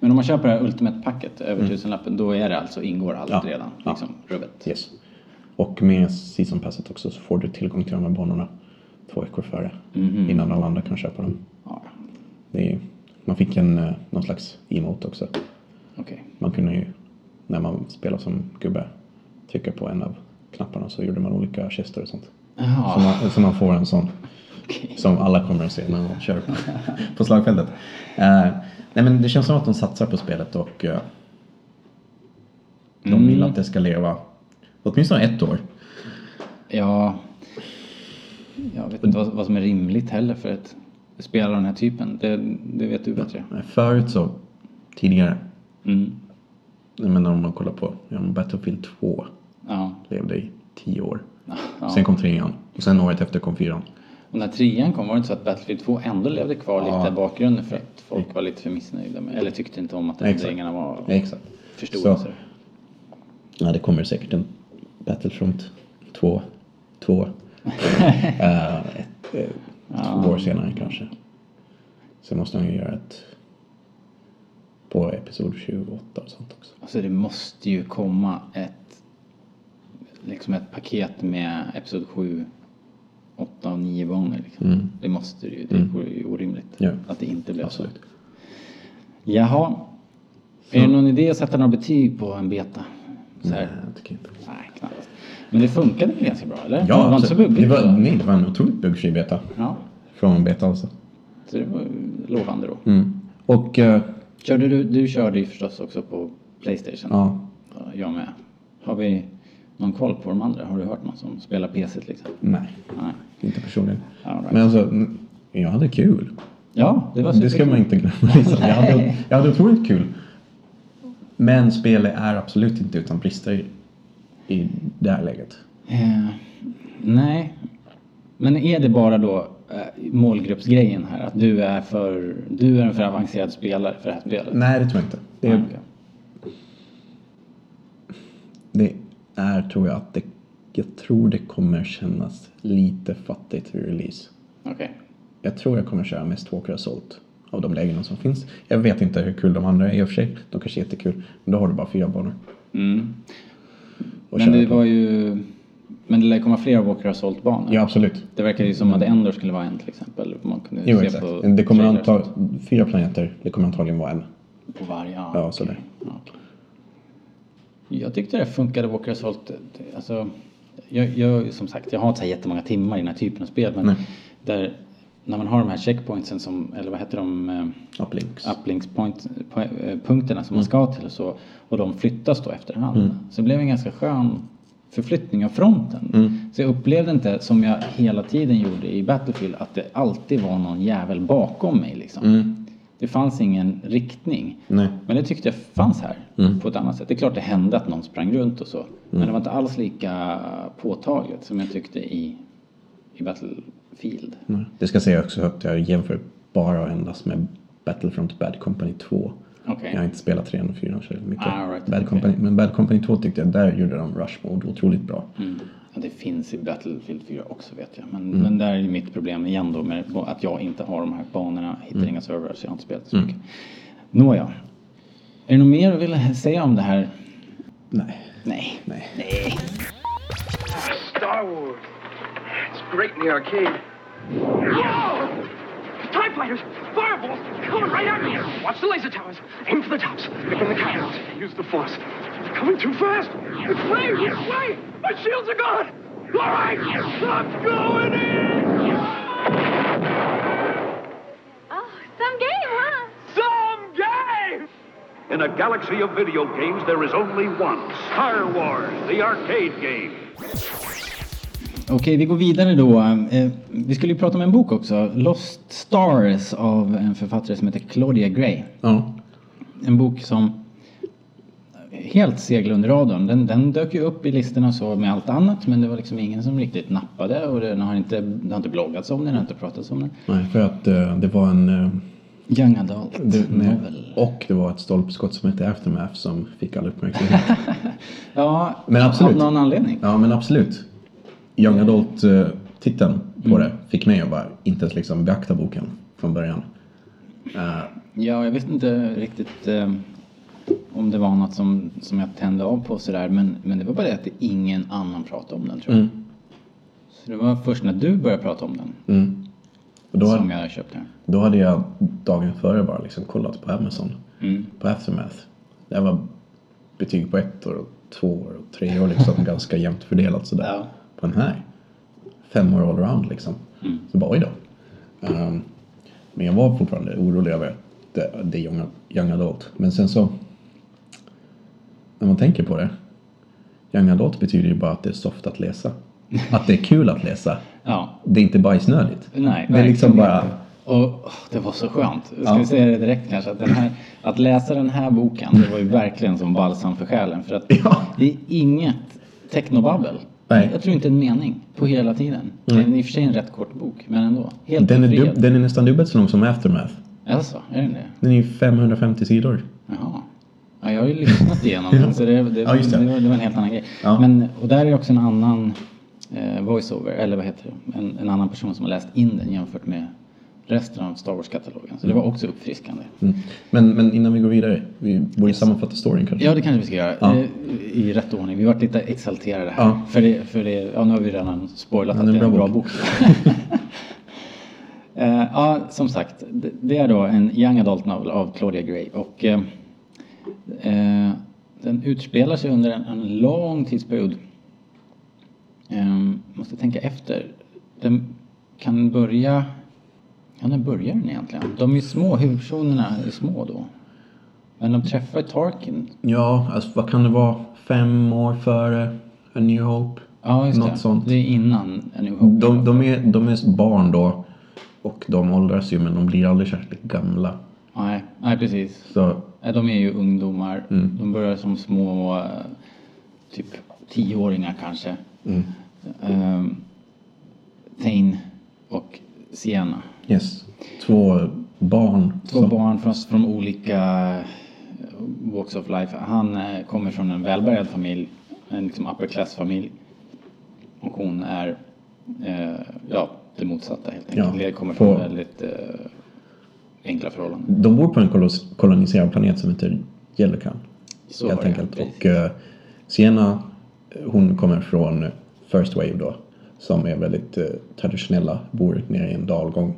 Men om man köper det här Ultimate-packet över tusenlappen, då är det alltså, ingår allt Ja. redan. Ja. Liksom, rubbet. Yes. Och med season passet också så får du tillgång till de här banorna två veckor före. Innan alla andra kan köpa dem. Ja. Det är, man fick en, eh, någon slags emote också. Okej. Man kunde ju, när man spelar som gubbe, trycka på en av knapparna så gjorde man olika gester och sånt. Så Jaha. man, så man får en sån. Okej. Som alla kommer att se när de kör på, på slagfältet. Eh, nej men det känns som att de satsar på spelet och eh, de vill Mm. att det ska leva åtminstone ett år. Ja, jag vet inte vad, vad som är rimligt heller för ett spel av den här typen. Det, det vet du bättre. Förut så, tidigare, Mm. jag menar om man kollar på ja, men Battlefield 2 Ja. levde i 10 år. ja. Sen kom trean och sen året efter kom fyran. Och när trean kom var det inte så att Battlefield 2 ändå levde kvar lite i bakgrunden för att folk var lite för missnöjda med, eller tyckte inte om att Exakt. ändringarna var Exakt. för Så. stora. Så. Ja, det kommer säkert en Battlefront 2. 2. ett, eh, Två år senare kanske. Sen måste han ju göra ett på episod 28 och sånt också. Alltså det måste ju komma ett, liksom ett paket med Episod 7, 8 och 9 gånger. Liksom. Det måste det ju. Det vore ju orimligt Mm. Ja. att det inte blev så. Jaha. Är det någon idé att sätta några betyg på en beta? Så här. Nej, jag Eh, tycker inte. Nej, knappast. Men det funkade väl ganska bra, eller? det Ja, var inte så absolut. bubbligt. det var, nej, det var en otroligt buggfri beta. Ja, Från en beta alltså. så det var ju lovande då. Mm. Och eh, Körde du, du körde ju förstås också på Playstation. ja, Ja, Jag med. Har vi någon koll på de andra? Har du hört någon som spelar PC till exempel? nej, Nej. inte personligen. All right. Men alltså, n- jag hade kul. Ja, det var Det ska superkul. man inte glömma. Liksom. Jag, hade, Alltså, Nej. jag hade otroligt kul. Men spelet är absolut inte utan brister i, i det här läget. Eh, nej. Men är det bara då eh, målgruppsgrejen här? Att du är, för, du är en för avancerad spelare för det här spelet? Nej, det tror jag inte. Det Nej, är, okej. det är tror jag att det, jag tror det kommer kännas lite fattigt vid release. Okej. Jag tror jag kommer köra mest Walker Assault av de lägena som finns. Jag vet inte hur kul de andra är i och för sig. De kanske är jättekul. Men då har du bara fyra banor. Mm. att Men köra det på. var ju... Men det lär komma fler Walker Assault-banor. Ja, absolut. Det verkar ju som att Endor skulle vara en till exempel. Man kunde Jo, se exakt. på Det kommer trailers anta fyra planeter. Det kommer antagligen vara en. På varje, ja. Ja, okej. sådär. Ja, okej. Jag tyckte det funkade Walker Assault. Alltså, jag, jag, som sagt, jag har inte så här jättemånga timmar i den här typen av spel. Men Nej. där, när man har de här checkpointsen som, eller vad heter de? eh, Uplinks. uplinkspunkterna Mm. som man ska till och så och de flyttas då efterhand. Så det blev en ganska skön förflyttning av fronten. Mm. Så jag upplevde inte som jag hela tiden gjorde i Battlefield att det alltid var någon jävel bakom mig liksom. Det fanns ingen riktning. Mm. Nej. Mm. Men det tyckte jag fanns här på ett annat sätt. Det är klart det hände att någon sprang runt och så. Men det var inte alls lika påtagligt som jag tyckte i, i Battlefield. Nej. Mm. Det ska säga också att jag jämför bara och endast med Battlefront Bad Company 2. Okej. Jag har inte spelat 3 och 4 så mycket. Ah, all right, Bad okej. Company, men Bad Company 2 tyckte jag, där gjorde de Rush Mode otroligt bra. Ja, det finns i Battlefield 4 också vet jag. Men, men där är ju mitt problem igen då med att jag inte har de här banorna, hittar inga servrar så jag har inte spelat så mycket. Nåja. Är det något mer du vill säga om det här? Nej. Nej. Nej. Star Wars. It's great in the arcade. Whoa! TIE fighters! Fireballs! Coming right at me! Watch the laser towers! Aim for the tops! Pick in the cannons! Use the force! They're coming too fast! It's way! It's way! My shields are gone! All right! I'm going in! Oh, some game, huh? Some game! In a galaxy of video games, there is only one Star Wars, the arcade game. Okej, vi går vidare då. Eh, Vi skulle ju prata om en bok också. Lost Stars av en författare som heter Claudia Gray. Ja. En bok som helt seglade under radarn. Den, den dök ju upp i listorna så med allt annat men det var liksom ingen som riktigt nappade och den har inte, det har inte bloggats om den, det har inte pratats om den. Nej, för att eh, det var en... eh, Young Adult det, nej, Novel. och det var ett stolpskott som hette Aftermath som fick all uppmärksamhet. Ja, Men absolut. av någon anledning. ja, men absolut. Young Adult-titeln på Mm. det fick mig att bara inte ens liksom beakta boken från början. Ja, jag vet inte riktigt eh, om det var något som, som jag tände av på sådär men, men det var bara det att det ingen annan pratade om den tror jag. Mm. Så det var först när du började prata om den Och då, som jag köpte den. Då hade jag dagen före bara liksom kollat på Amazon, Mm. på Aftermath. Det var betyg på ett år och två år och tre år liksom ganska jämnt fördelat sådär. Ja. På den här fem år allround liksom. Mm. Så bara oj då. Ehm, men jag var fortfarande orolig över det, det young, young adult. Men sen så, när man tänker på det, young adult betyder ju bara att det är soft att läsa. Att det är kul att läsa. Ja. Det är inte bajsnödigt. Nej, det är verkligen liksom bara... inte. Och åh, det var så skönt. Jag ska Ja. säga det direkt kanske. Att, den här, att läsa den här boken, det var ju verkligen som balsam för själen. För att Ja. det är inget technobabbel. Nej. Jag tror inte en mening på hela tiden. Det är i och för sig en rätt kort bok, men ändå. Helt Den är, dub, befriad. den är nästan dubbelt så lång som Aftermath. Alltså, är den det? Den är ju 550 sidor. Jaha. Ja, jag har ju lyssnat igenom den så det, det, Ja, just det. det. var, det var en helt annan grej. Ja. Men, och där är också en annan eh, voiceover, eller vad heter det, en, en annan person som har läst in den jämfört med resten av Star Wars-katalogen. Så det var också uppfriskande. Mm. Men, men innan vi går vidare, vi borde sammanfatta storyn kanske. Ja, det kanske vi ska göra. Ja. Eh, I rätt ordning. Vi vart lite exalterade här. Ja. För, det, för det, ja, nu har vi redan spoilat Ja, att det är en bra bok. Eh, ja, som sagt. Det, det är då en young adult novel av Claudia Gray. Och, eh, eh, den utspelar sig under en, en lång tidsperiod. Eh, måste tänka efter. Den kan börja... Ja, när börjar den egentligen? De är ju små, huvudpersonerna är små då. Men de träffar Tarkin Ja, alltså vad kan det vara? Fem år före A New Hope? Ja, just Något det. sånt. Det är innan A New Hope. De, de, är, de är barn då och de åldras ju men de blir aldrig särskilt gamla. Nej, nej, precis. Så Nej, De är ju ungdomar. Mm. De börjar som små, eh, typ tioåringar kanske. Mm. Ehm, Tain och Sienna. yes, två barn. Två som, barn från, från olika walks of life. Han eh, kommer från en välbärgad familj, en liksom upper class familj. Och hon är eh, ja, det motsatta helt enkelt. Ja, kommer på- från väldigt eh, enkla förhållanden. De bor på en kolos- koloniserad planet som heter Jellican. Så helt var det, enkelt. precis. Och eh, Sienna, eh, hon kommer från First Wave då. Som är väldigt eh, traditionella, bor nere i en dalgång.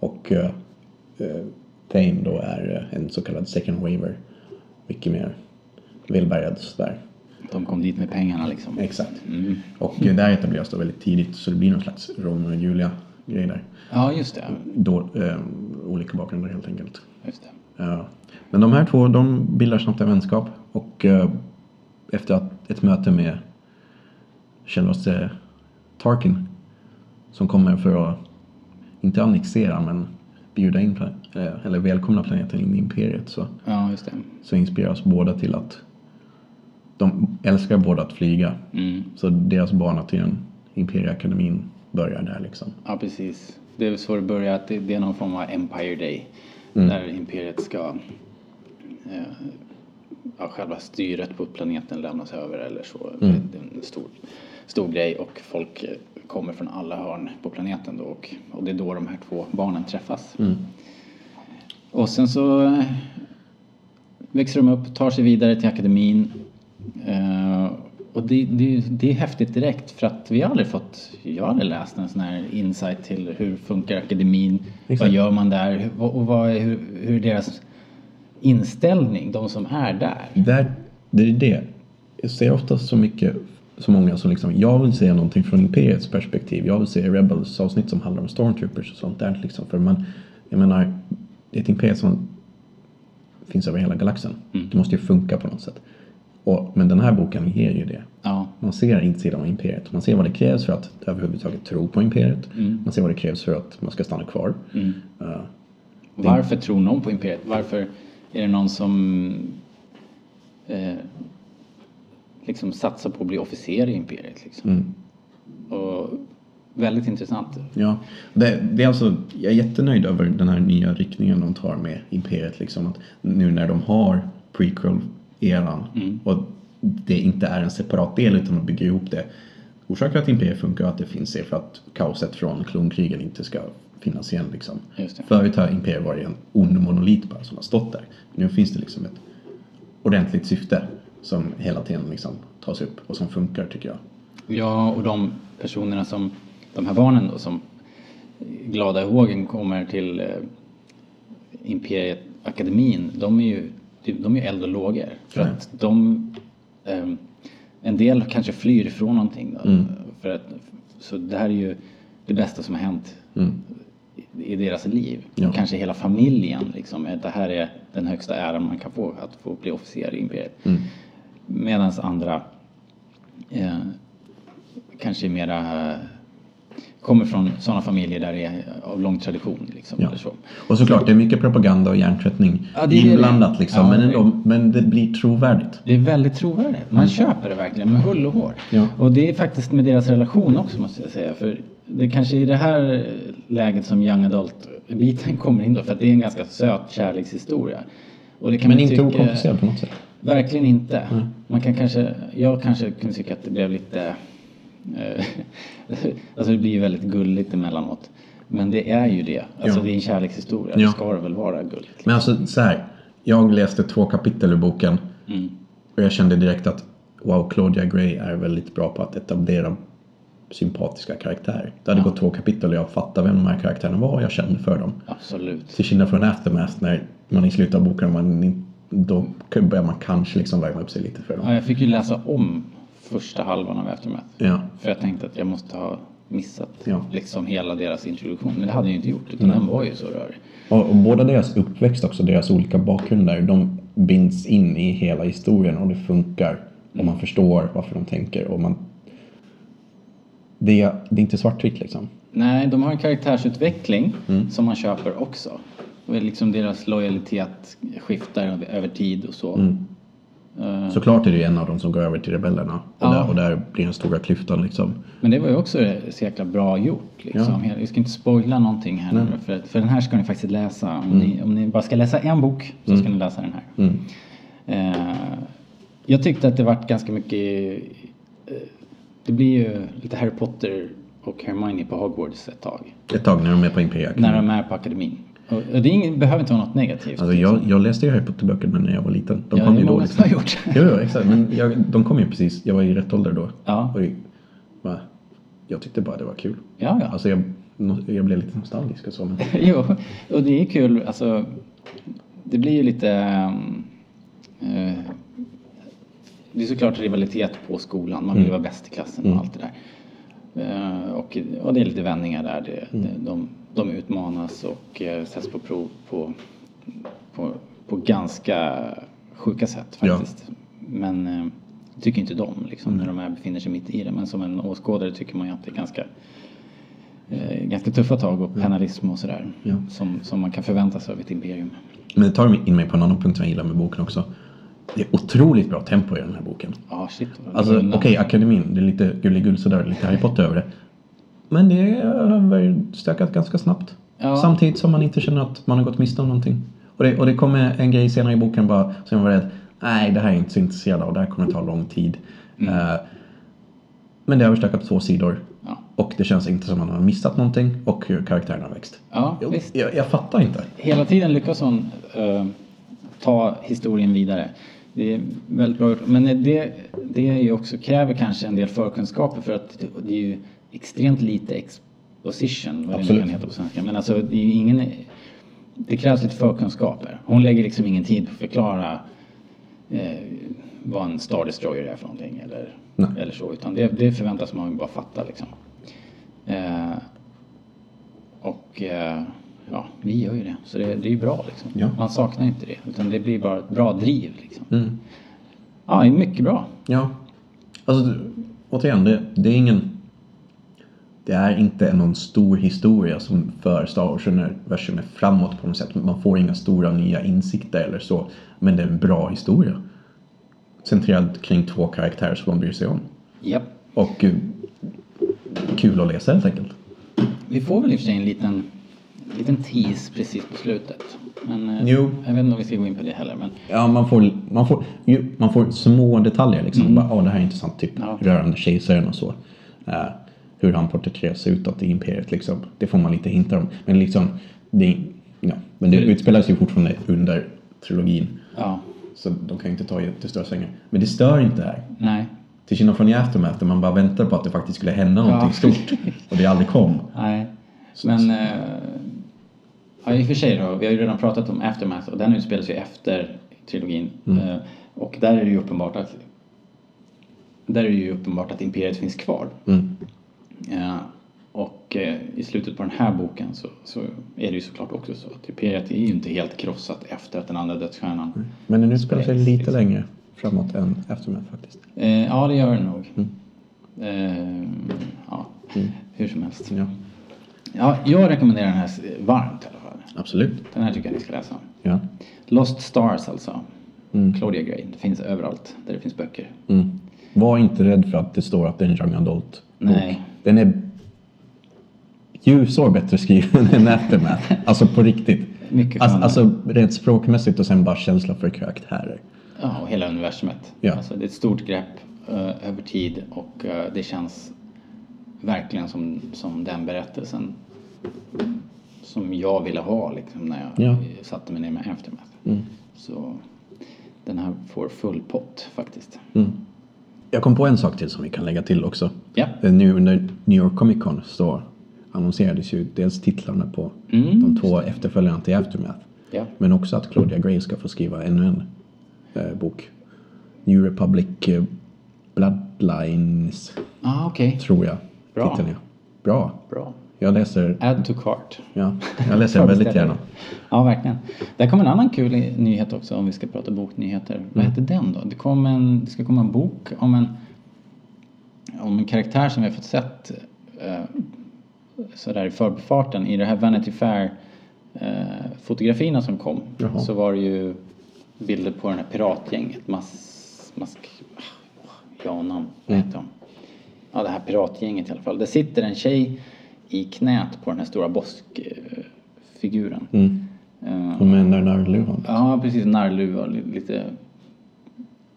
Och eh, eh, Thane då är eh, en så kallad second waver. Mycket mer välbärgad sådär. De kom dit med pengarna liksom. Exakt. Och eh, där etableras då väldigt tidigt så det blir någon slags Romeo och Julia grej där. Ja, just det. Då, eh, olika bakgrunder helt enkelt. Just det. Ja. Men de här två, de bildar snabbt en vänskap och eh, efter att ett möte med självaste Tarkin som kommer för att, inte annexera men bjuda in, pla- eh, eller välkomna planeten in i imperiet så, Ja, just det. så inspireras båda till att de älskar båda att flyga. Så deras bana till den imperieakademin börjar där liksom. Ja, precis. Det är så det börjar, att det, det är någon form av Empire Day. Där imperiet ska... Eh, ja, själva styret på planeten lämnas över eller så. Det är en stor, stor grej och folk eh, kommer från alla hörn på planeten då och, och det är då de här två barnen träffas. Och sen så eh, växer de upp, tar sig vidare till akademin. Eh, och det, det, det är häftigt direkt för att vi har aldrig fått, jag har aldrig läst en sån här insight till hur funkar akademin, Exakt. vad gör man där hur- vad- och vad är, hur, hur är deras inställning, de som är där. Där, det är det. Jag ser ofta så mycket, så många som liksom, jag vill se någonting från Imperiets perspektiv. Jag vill se Rebels avsnitt som handlar om Stormtroopers och sånt där liksom. För man, jag menar, det är ett Imperiet som finns över hela galaxen. Det måste ju funka på något sätt. Och, men den här boken ger ju det. Ja, Man ser insidan av Imperiet. Man ser vad det krävs för att överhuvudtaget tro på Imperiet. Man ser vad det krävs för att man ska stanna kvar. Eh, Varför tror någon på imperiet? Varför är det någon som eh, liksom satsar på att bli officer i imperiet? Liksom? Och väldigt intressant. Ja, det, det är alltså, jag är jättenöjd över den här nya riktningen de tar med Imperiet. Liksom, att nu när de har prequel-eran Mm. och det inte är en separat del utan de bygger ihop det. Orsaken till att Imperiet funkar och att det finns är för att kaoset från klonkrigen inte ska finnas igen. Liksom. Just det. Förut har Imperiet varit en ond monolit bara som har stått där. Nu finns det liksom ett ordentligt syfte som hela tiden liksom tas upp och som funkar tycker jag. Ja, och de personerna som, de här barnen då, som glada i hågen kommer till eh, Imperiet Akademin, de är ju, de är ju eld och lågor. För Ja. att de, ehm, en del kanske flyr från någonting då, för att Så det här är ju det bästa som har hänt i- i deras liv. Ja. Kanske hela familjen. Liksom. Det här är den högsta äran man kan få, att få bli officer i imperiet. Medan andra eh, kanske är mera eh, kommer från sådana familjer där det är eh, av lång tradition. Liksom, Ja. eller så. Och såklart, det är mycket propaganda och hjärntvättning Ja, det är det. inblandat liksom. Ja, men, det- ändå, men det blir trovärdigt. Det är väldigt trovärdigt. Man köper det verkligen med hull och hår. Ja. Och det är faktiskt med deras relation också måste jag säga. För det kanske är i det här eh, läget som Young Adult-biten kommer in då. För att det är en ganska söt kärlekshistoria. Och det kan Men man inte tycka- okomplicerat på något sätt. Verkligen inte. Mm. Man kan kanske, jag kanske kunde tycka att det blev lite... eh, alltså det blir ju väldigt gulligt emellanåt. Men det är ju det. Alltså Ja. det är en kärlekshistoria. Ja. Då ska det väl vara gulligt. Men alltså så här, jag läste två kapitel ur boken Mm. och jag kände direkt att wow, Claudia Gray är väldigt bra på att etablera sympatiska karaktärer. Det hade gått två kapitel och jag fattade vem de här karaktärerna var och jag kände för dem. Absolut. Till skillnad från Aftermath när man i slutet av boken man, in- då börjar man kanske liksom värma upp sig lite för Ja, dem. jag fick ju läsa om första halvan av Aftermath. Ja, För jag tänkte att jag måste ha missat Ja. liksom hela deras introduktion. Men det hade jag ju inte gjort. Utan den var ju så rörig. Och, och båda deras uppväxt också, deras olika bakgrunder, de binds in i hela historien och det funkar. Och man förstår varför de tänker och man... Det är, det är inte svartvitt liksom. Nej, de har en karaktärsutveckling Mm. som man köper också. Och det är liksom deras lojalitet skiftar över- över tid och så. Mm. Såklart är det ju en av dem som går över till rebellerna. Och, Ja. där, och där blir den stora klyftan liksom. Men det var ju också så jäkla bra gjort. Liksom. Jag ska inte spoila någonting här nu. För, för den här ska ni faktiskt läsa. Om, Mm. ni, om ni bara ska läsa en bok så ska ni läsa den här. Eh, jag tyckte att det vart ganska mycket... Eh, det blir ju lite Harry Potter och Hermione på Hogwarts ett tag. Ett tag när de är på Imperiet. När de är på akademin. Och, och det är ingen, behöver inte vara något negativt. Mm. Alltså jag, jag läste ju Harry Potter-böckerna när jag var liten. De Ja, kom det ju är då många som liksom. har gjort. Jo, jo, exakt. Men jag, de kom ju precis. Jag var i rätt ålder då. Ja. Och jag, va? jag tyckte bara det var kul. Ja, ja. Alltså jag, jag blev lite nostalgisk och så. Men... jo, och det är kul. Alltså, det blir ju lite... ehm, eh, det är såklart rivalitet på skolan. Man vill vara bäst i klassen och allt det där. Eh, och, och det är lite vändningar där. Det, det, de, de utmanas och eh, sätts på prov på, på, på ganska sjuka sätt Ja. faktiskt. Men eh, tycker inte de liksom, när de här befinner sig mitt i det. Men som en åskådare tycker man ju att det är ganska eh, ganska tuffa tag och penalism och sådär. Som, som man kan förvänta sig av ett imperium. Men det tar in mig på en annan punkt som jag gillar med boken också. Det är otroligt bra tempo i den här boken. Ja, shit. vad Alltså okej, lugna. akademin, det är lite gulligull sådär, lite Harry Potter över det. Men det är överstökat ganska snabbt. Ja. Samtidigt som man inte känner att man har gått miste om någonting. Och det, och det kommer en grej senare i boken bara som jag var rädd, nej det här är jag inte så intresserad av, det här kommer ta lång tid. Mm. Eh, men det är överstökat på två sidor. Ja. Och det känns inte som att man har missat någonting och hur karaktärerna har växt. Ja, Jag, visst. jag, jag fattar inte. Hela tiden lyckas hon eh, ta historien vidare. Det är väldigt bra gjort. Men det, det är ju också, kräver kanske en del förkunskaper för att det- det är ju extremt lite exposition, vad det nu Absolut. kan heta på svenska. Men alltså, det är ju ingen... Det krävs lite förkunskaper. Hon lägger liksom ingen tid på att förklara eh, vad en Star Destroyer är för någonting eller, Nej. eller så. Utan det, det förväntas man ju bara fatta liksom. Eh, och eh, ja, vi gör ju det. Så det, det är ju bra liksom. Ja. Man saknar ju inte det. Utan det blir bara ett bra driv liksom. Mm. Ja, det är mycket bra. Ja. Alltså, du- återigen, det, det är ingen... Det är inte någon stor historia som för Star Wars-universumet framåt på något sätt. Man får inga stora nya insikter eller så. Men det är en bra historia. Centrerad kring två karaktärer som man bryr sig om. Japp. Och eh, kul att läsa helt enkelt. Vi får väl i och för sig en liten, liten tease precis på slutet. Men eh, Jo. jag vet inte om vi ska gå in på det heller. Men Ja, man får, man får, ju, man får små detaljer liksom. Bara, "Åh, det här är intressant. Typ Ja. rörande kejsaren och så. Eh, hur han porträtteras utåt i imperiet liksom. Det får man lite hintar om. Men liksom, det, ja, men det utspelas ju fortfarande under trilogin. ja, Så de kan ju inte ta jättestora svängar. Men det stör inte här. nej. Till skillnad från i Aftermath där man bara väntar på att det faktiskt skulle hända någonting stort. Och det aldrig kom. Nej, men... Eh, ja, i och för sig då. Vi har ju redan pratat om Aftermath och den utspelas ju efter trilogin. Eh, och där är det ju uppenbart att... Där är det ju uppenbart att Imperiet finns kvar. Eh, och eh, i slutet på den här boken så, så är det ju såklart också så att Imperiet är ju inte helt krossat efter att den andra dödsstjärnan Men den utspelar sig Space, lite liksom. längre framåt än Aftermath faktiskt. Eh, ja, det gör det nog. Eh, ja, hur som helst. Ja, Ja, jag rekommenderar den här eh, varmt i alla fall. absolut. Den här tycker jag ni ska läsa. Ja. Lost Stars alltså. Claudia Gray. Det finns överallt där det finns böcker. Mm. Var inte rädd för att det står att det är en young adult Nej. Den är ljusår bättre skriven än Aftermath. Alltså på riktigt. Mycket alltså, skönare. alltså rent språkmässigt och sen bara känsla för karaktärer. Ja, och hela universumet. Ja. Alltså, det är ett stort grepp eh, över tid och eh, det känns verkligen som, som den berättelsen som jag ville ha liksom, när jag Ja. Mm. eh, satte mig ner med Aftermath. Så den här får full pott faktiskt. Mm. Jag kom på en sak till som vi kan lägga till också. Ja. Eh, Nu under New York Comic Con så annonserades ju dels titlarna på de två efterföljarna till Aftermath. Ja. Men också att Claudia Gray ska få skriva ännu en eh, bok. New Republic eh, Bloodlines, Ah, okej. tror jag. Bra. Titeln, ja. Bra. Bra. Jag läser, Add to cart. ja, jag läser den väldigt gärna. Ja, verkligen. Där kom en annan kul i- nyhet också om vi ska prata boknyheter. Vad Mm. heter den då? Det, kom en, det ska komma en bok om en, om en karaktär som vi har fått sett eh, sådär i förbifarten. I det här Vanity Fair eh, fotografierna som kom Jaha. så var det ju bilder på den här piratgänget. Mas, ah, mask, Janam, vad Mm. heter de? Ja, det här piratgänget i alla fall. Det sitter en tjej i knät på den här stora boskfiguren. Eh, De ändrar narrluvan. ja, precis. Narrluva, li- lite...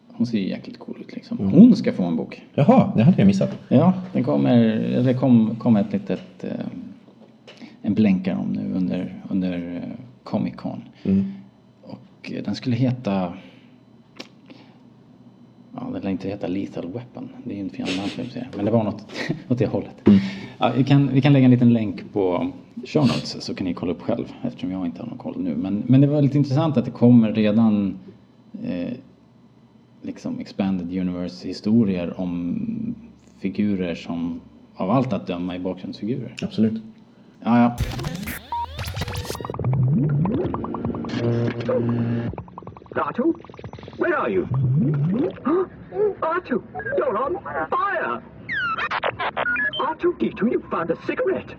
Hon ser ju jäkligt cool ut liksom. Hon ska få en bok. Jaha, det hade jag missat. Ja, den kommer, eller det kom, kom ett litet, eh, en blänkare om nu under, under eh, Comic Con. Och eh, den skulle heta, ja den lär inte heta Lethal Weapon, det är ju en fin namn för en serie, men det var något åt det hållet. Ja, vi, kan, vi kan lägga en liten länk på show notes så kan ni kolla upp själv eftersom jag inte har någon koll nu. Men, men det var lite intressant att det kommer redan eh, liksom expanded universe historier om figurer som av allt att döma är bakgrundsfigurer. Absolut. Ja, ja. Datu? Where are you? Huh? Artu, you're on fire! Artu D2, you found a cigarette.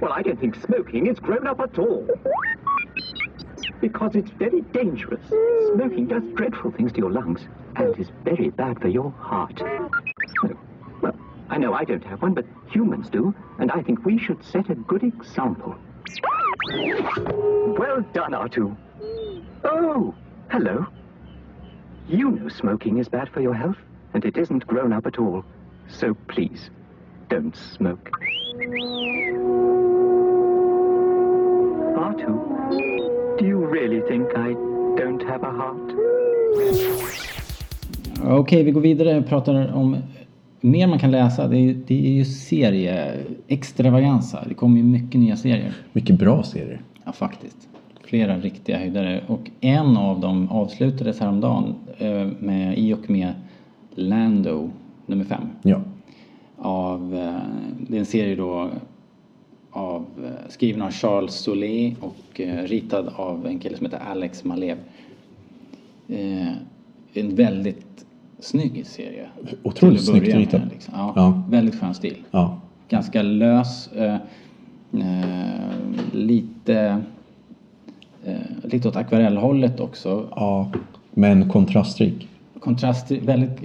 Well, I don't think smoking is grown up at all. Because it's very dangerous. Smoking does dreadful things to your lungs and is very bad for your heart. Oh, Well, I know I don't have one, but humans do, and I think we should set a good example. Well done, Artu. Oh, hello. You know smoking is bad for your health, and it isn't grown up at all. So please, don't smoke. Artu, do you really think I don't have a heart? Okej, vi går vidare och pratar om mer man kan läsa. Det är, det är ju serie extravaganza. Det kommer ju mycket nya serier. Mycket bra serier. Ja, faktiskt. Flera riktiga höjdare. Och en av dem avslutades häromdagen eh, med, i och med Lando nummer fem. Ja. av, eh, det är en serie då av, eh, skriven av Charles Solé och eh, ritad av en kille som heter Alex Malev. Eh, en väldigt snygg serie. Otroligt Till att snyggt börja med, ritad. Liksom. Ja, Ja. Väldigt skön stil. Ja. Ganska lös, eh, eh, lite, eh, lite åt akvarellhållet också. Ja. Men kontrastrik. Kontraster, väldigt... eh,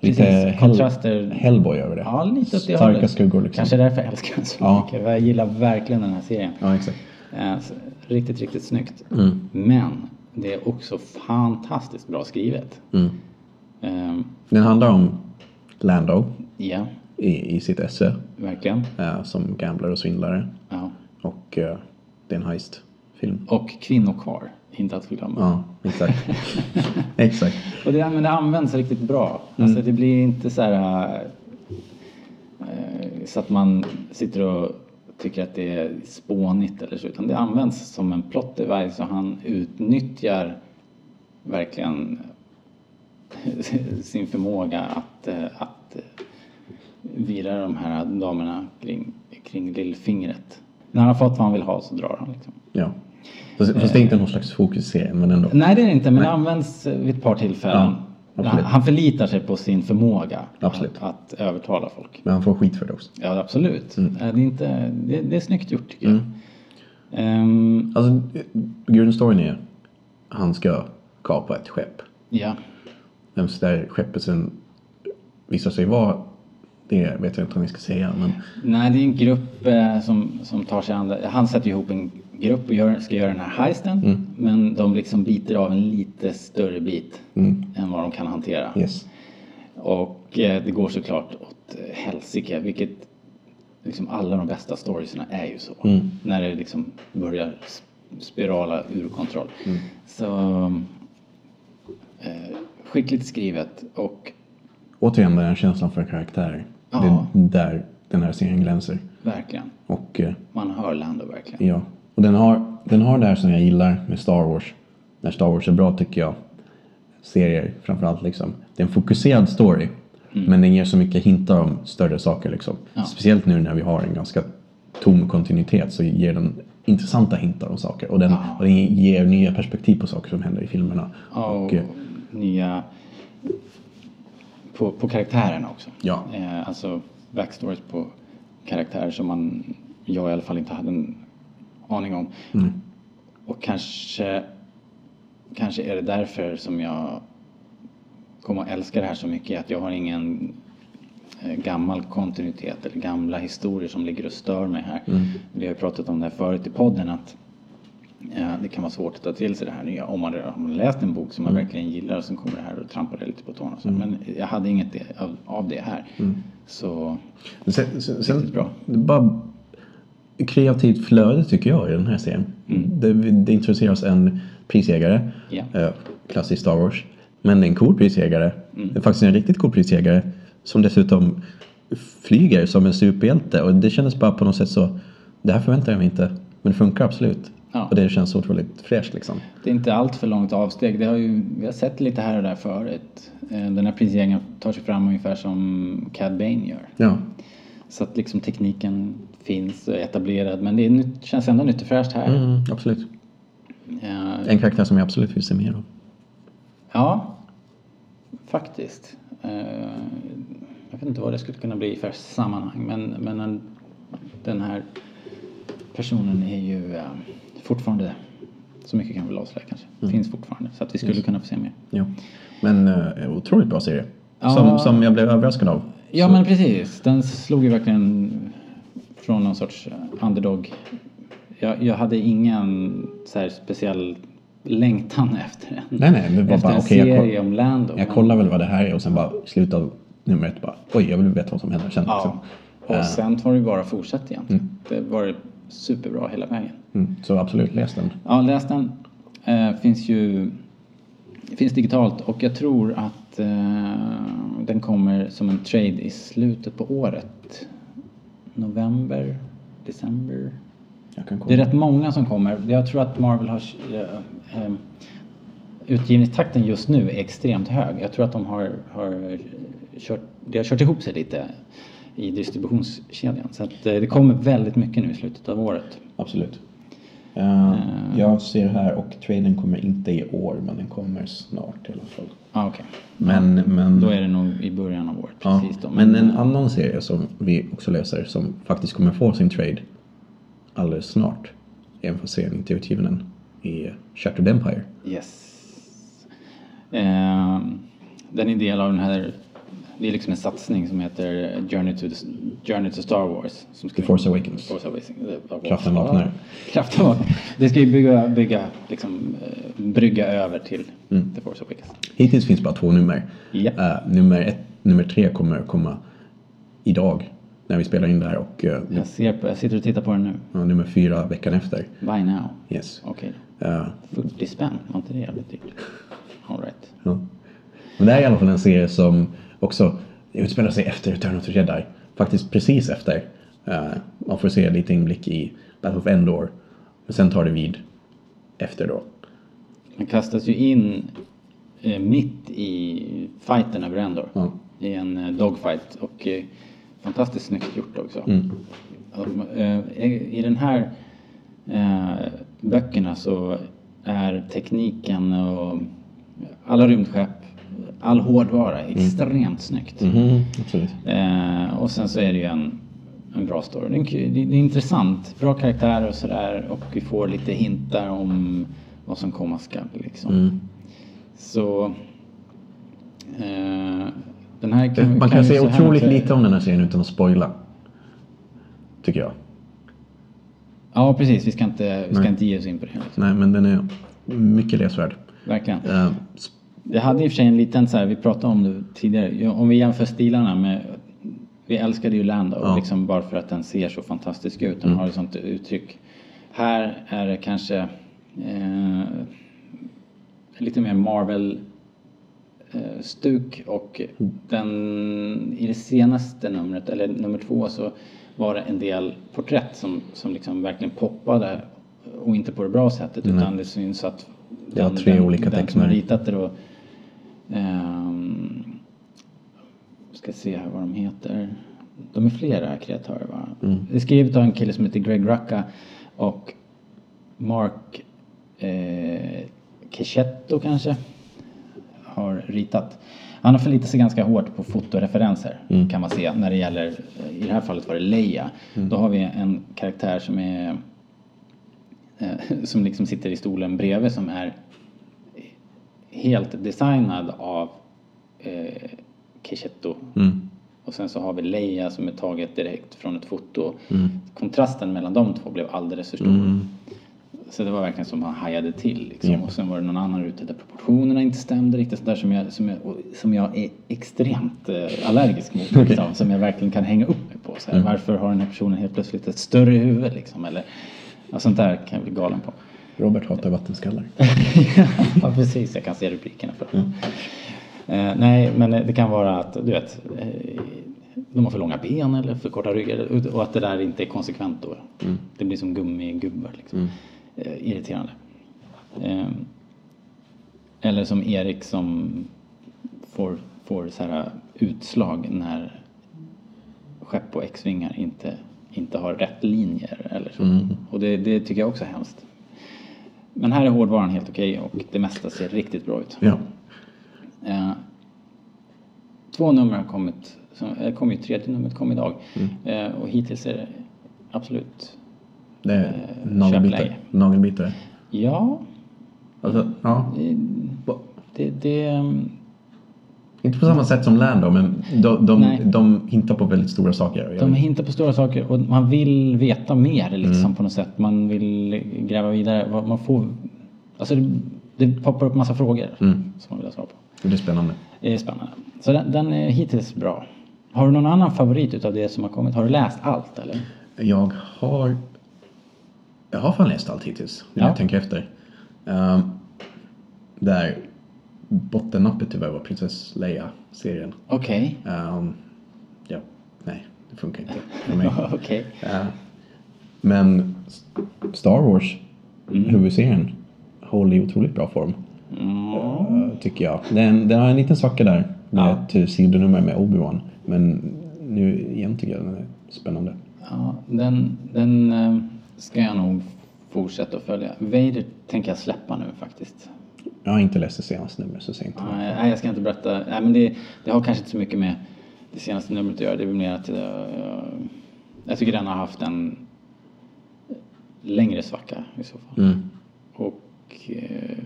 Lite precis, Hell- kontraster. Hellboy över det. Ja, lite åt det Starka hållet. skuggor liksom. Kanske därför jag älskar den så Ja. mycket. Jag gillar verkligen den här serien. Ja, Mm. exakt. Eh, så- Riktigt, riktigt snyggt. Men det är också fantastiskt bra skrivet. Mm. Ehm, Den handlar om Lando ja, i, i sitt esse verkligen. eh, som gambler och svindlare. Ja. Och eh, det är en heistfilm. Och kvinnokar, inte att förglömma. Ja, exakt. exakt. Och det, men det används riktigt bra. Alltså det blir inte så här eh, så att man sitter och tycker att det är spånigt eller så utan det används som en plot device och han utnyttjar verkligen sin förmåga att, eh, att eh, virar de här damerna kring, kring lillfingret. När han har fått vad han vill ha så drar han liksom. Ja. Fast, fast det är inte någon slags fokusserie, men ändå. Nej det är det inte, men det används eh, vid ett par tillfällen. Ja, han, absolut. han förlitar sig på sin förmåga Absolut. Att, att övertala folk. Men han får skit för det också. Ja absolut. Mm. Eh, Det, är inte, det, det är snyggt gjort tycker jag. Ehm, Alltså, grundstoryn är han ska kapa ett skepp. ja. Vem så där skeppet sen visar sig vara, det vet jag inte om vi ska säga. Men Nej, det är en grupp eh, som, som tar sig an det. Han sätter ihop en grupp och gör, ska göra den här heisten. Mm. Men de liksom biter av en lite större bit Mm. än vad de kan hantera. yes. Och eh, det går såklart åt eh, helsike, vilket liksom alla de bästa storiesna är ju så. När det liksom börjar s- spirala ur kontroll. Så eh, skickligt skrivet och Återigen den här känslan för karaktärer. Ja. Det är där den här serien glänser. verkligen, Och eh, man hör Lando verkligen. ja, och den har, den har det här som jag gillar med Star Wars. När Star Wars är bra tycker jag. Serier framförallt liksom. Det är en fokuserad story. Mm. Men den ger så mycket hintar om större saker liksom. Speciellt nu när vi har en ganska tom kontinuitet så ger den intressanta hintar om saker. Och den, och den ger nya perspektiv på saker som händer i filmerna. Ja, och, eh, nya... På, på karaktärerna också. Ja. Eh, alltså backstories på karaktärer som man, jag i alla fall inte hade en aning om. Och kanske, kanske är det därför som jag kommer att älska det här så mycket. Att jag har ingen eh, gammal kontinuitet eller gamla historier som ligger och stör mig här. Vi har ju pratat om det här förut i podden att eh, det kan vara svårt att ta till sig det här nya om man redan har läst en bok som man verkligen gillar och sen kommer det här och trampar det lite på tårna. och så. Men jag hade inget det- av, av det här. Så Men Sen, sen, sen bra. Det är bara kreativt flöde tycker jag i den här serien. Det, det introduceras en prisjägare, Mm. Ja. eh, klassisk Star Wars. Men det är en cool prisjägare. Mm. Det är faktiskt en riktigt cool prisjägare som dessutom flyger som en superhjälte och det kändes bara på något sätt så, det här förväntar jag mig inte. Men det funkar absolut. Ja. Och det känns så otroligt fräscht liksom. det är inte allt för långt avsteg. Det har ju, vi har sett lite här och där förut. Eh, Den här prisjägaren tar sig fram ungefär som Cad Bane gör. Ja, Så att liksom tekniken finns och är etablerad men det är nytt, känns ändå nytt och fräscht här. mm, absolut. Eh, En karaktär som jag absolut vill se mer av. Ja, faktiskt. Eh, Jag vet inte vad det skulle kunna bli för sammanhang men, men en- den här personen är ju eh, fortfarande, så mycket kan vi väl avslöja kanske, finns fortfarande så att vi skulle kunna få se mer. Ja. Men eh, otroligt bra serie. Ja. Som, som jag blev överraskad av. Ja Så- men precis, den slog ju verkligen från någon sorts eh, underdog. Jag, jag hade ingen så här speciell längtan efter en, Nej, nej, det var efter bara, en okej, jag serie koll- om Lando. Jag kollar väl vad det här är och sen bara i slutet av nummer ett bara oj jag vill veta vad som händer sen. Ja. liksom. Och sen var det ju bara fortsatt egentligen. Det var superbra hela vägen. Mm, så absolut läs den. Ja, läs den. Eh, finns ju finns digitalt och jag tror att eh, den kommer som en trade i slutet på året. November, december. Jag kan kolla. Det är rätt många som kommer. Jag tror att Marvel har... Eh, eh, utgivningstakten just nu är extremt hög. Jag tror att de har, har kört, det har kört ihop sig lite i distributionskedjan. Så att eh, det kommer väldigt mycket nu i slutet av året. Absolut. Eh, Jag ser här och traden kommer inte i år men den kommer snart i alla fall. Ah, okej. Men, men, Då är det nog i början av året. ja. Precis då. men en annan serie som vi också läser som faktiskt kommer få sin trade alldeles snart. Även fast serien inte är utgiven än. Är Shattered Empire. Yes. Eh, den är del av den här... Det är liksom en satsning som heter Journey to, the, Journey to Star Wars. Som ska The Force Awakens. Force Awakens. Kraften vaknar. Kraften vaknar. Det ska ju bygga, bygga liksom, eh, brygga över till Mm. The Force Awakens. Hittills finns bara två nummer. Ja. Eh, nummer, ett, nummer tre kommer komma idag när vi spelar in det här och eh, Jag, ser på, jag sitter och tittar på den nu. ja, nummer fyra veckan efter. Buy now. Yes. Okej. Eh, 40 spänn, var inte det jävligt dyrt? All right. ja. Men det här är i alla fall en serie som också utspelar sig efter Return of the Jedi. Faktiskt precis efter. Eh, man får se lite inblick i Battle of Endor. Men sen tar det vid efter då. Man kastas ju in eh, mitt i fighten över Endor. Ja. I en eh, dogfight och eh, fantastiskt snyggt gjort också. Och, eh, I den här eh, böckerna så är tekniken och alla rymdskepp, all hårdvara extremt snyggt. Absolut. Eh, och sen så är det ju en, en bra story. Det är, en kul- det, det är intressant, bra karaktärer och sådär och vi får lite hintar om vad som komma skall liksom. Mm. Så eh, den här kan, Man kan ju säga Mm. så här otroligt också- lite om den här serien utan att spoila. Tycker jag. Ja precis, vi ska inte, vi ska Nej. inte ge oss in på det. här, Liksom. Nej, men den är mycket läsvärd. Verkligen. Eh, sp- Jag hade i och för sig en liten så här, vi pratade om det tidigare, Ja, om vi jämför stilarna med vi älskade ju Lando Ja. liksom bara för att den ser så fantastisk ut, den har ett sånt uttryck. Här är det kanske eh, lite mer Marvel-stuk och den, i det senaste numret, eller nummer två, så var det en del porträtt som, som liksom verkligen poppade och inte på det bra sättet utan det syns att Det var tre olika den som har tecknare. ritat det då ehm, ska se här vad de heter. De är flera kreatörer va? Mm. Det är skrivet av en kille som heter Greg Rucka och Mark eh, Cechetto kanske har ritat. Han har förlitat sig ganska hårt på fotoreferenser kan man se när det gäller, i det här fallet var det Leia. Då har vi en karaktär som är eh, som liksom sitter i stolen bredvid som är helt designad av eh, Cechetto. Och sen så har vi Leia som är taget direkt från ett foto. Kontrasten mellan de två blev alldeles för stor. Så det var verkligen som han hajade till. Liksom. Och sen var det någon annan ruta där proportionerna inte stämde riktigt. Sådär som jag, som jag, och- som jag är extremt eh, allergisk mot. Liksom, som jag verkligen kan hänga upp mig på. Såhär. Varför har den här personen helt plötsligt ett större huvud? Liksom, eller, ja, sånt där kan jag bli galen på. Robert hatar vattenskallar. ja, precis. Jag kan se rubrikerna för eh, Nej, men eh, det kan vara att du vet, eh, de har för långa ben eller för korta ryggar och- och att det där inte är konsekvent då. Det blir som gummigubbar liksom. Eh, irriterande. Eh, eller som Erik som får, får så här eh, utslag när skepp och X-vingar inte, inte har rätt linjer eller så. Och det, det tycker jag också är hemskt. Men här är hårdvaran helt okej och det mesta ser riktigt bra ut. Ja. Eh, två nummer har kommit, som, eh, kom ju tredje numret kom idag. Eh, och hittills är det absolut, Det är nagelbitare. köpläge. Nagelbitare. ja, Alltså, ja. det, det, ehm, Inte på samma sätt som Lando, men de, de, Nej. de hintar på väldigt stora saker. Jag de vet- hintar på stora saker och man vill veta mer liksom på något sätt. Man vill gräva vidare. Vad Man får, alltså det, det poppar upp massa frågor som man vill ha svar på. Det är spännande. Det är spännande. Så den, den är hittills bra. Har du någon annan favorit utav det som har kommit? Har du läst allt eller? Jag har... Jag har fan läst allt hittills, när Ja. jag tänker efter. Um, där bottennappet tyvärr var Princess Leia-serien. Okej. Ehm, ja, nej, det funkar inte för mig. Okej. Men S- Star Wars, Mm. huvudserien, håller i otroligt bra form. Eh, tycker jag. Den, den har en liten svacka där med Mm. Ja. ett eh, sidonummer med Obi-Wan. Men nu igen tycker jag den är spännande. Ja, den, den eh, ska jag nog fortsätta att följa. Vader tänker jag släppa nu faktiskt. Eh, Jag har inte läst det senaste numret så sent. Nej, nej, jag ska inte berätta. Nej, men det, det har kanske inte så mycket med det senaste numret att göra. Det är väl mer att jag, jag, jag tycker den har haft en längre svacka i så fall. Och eh,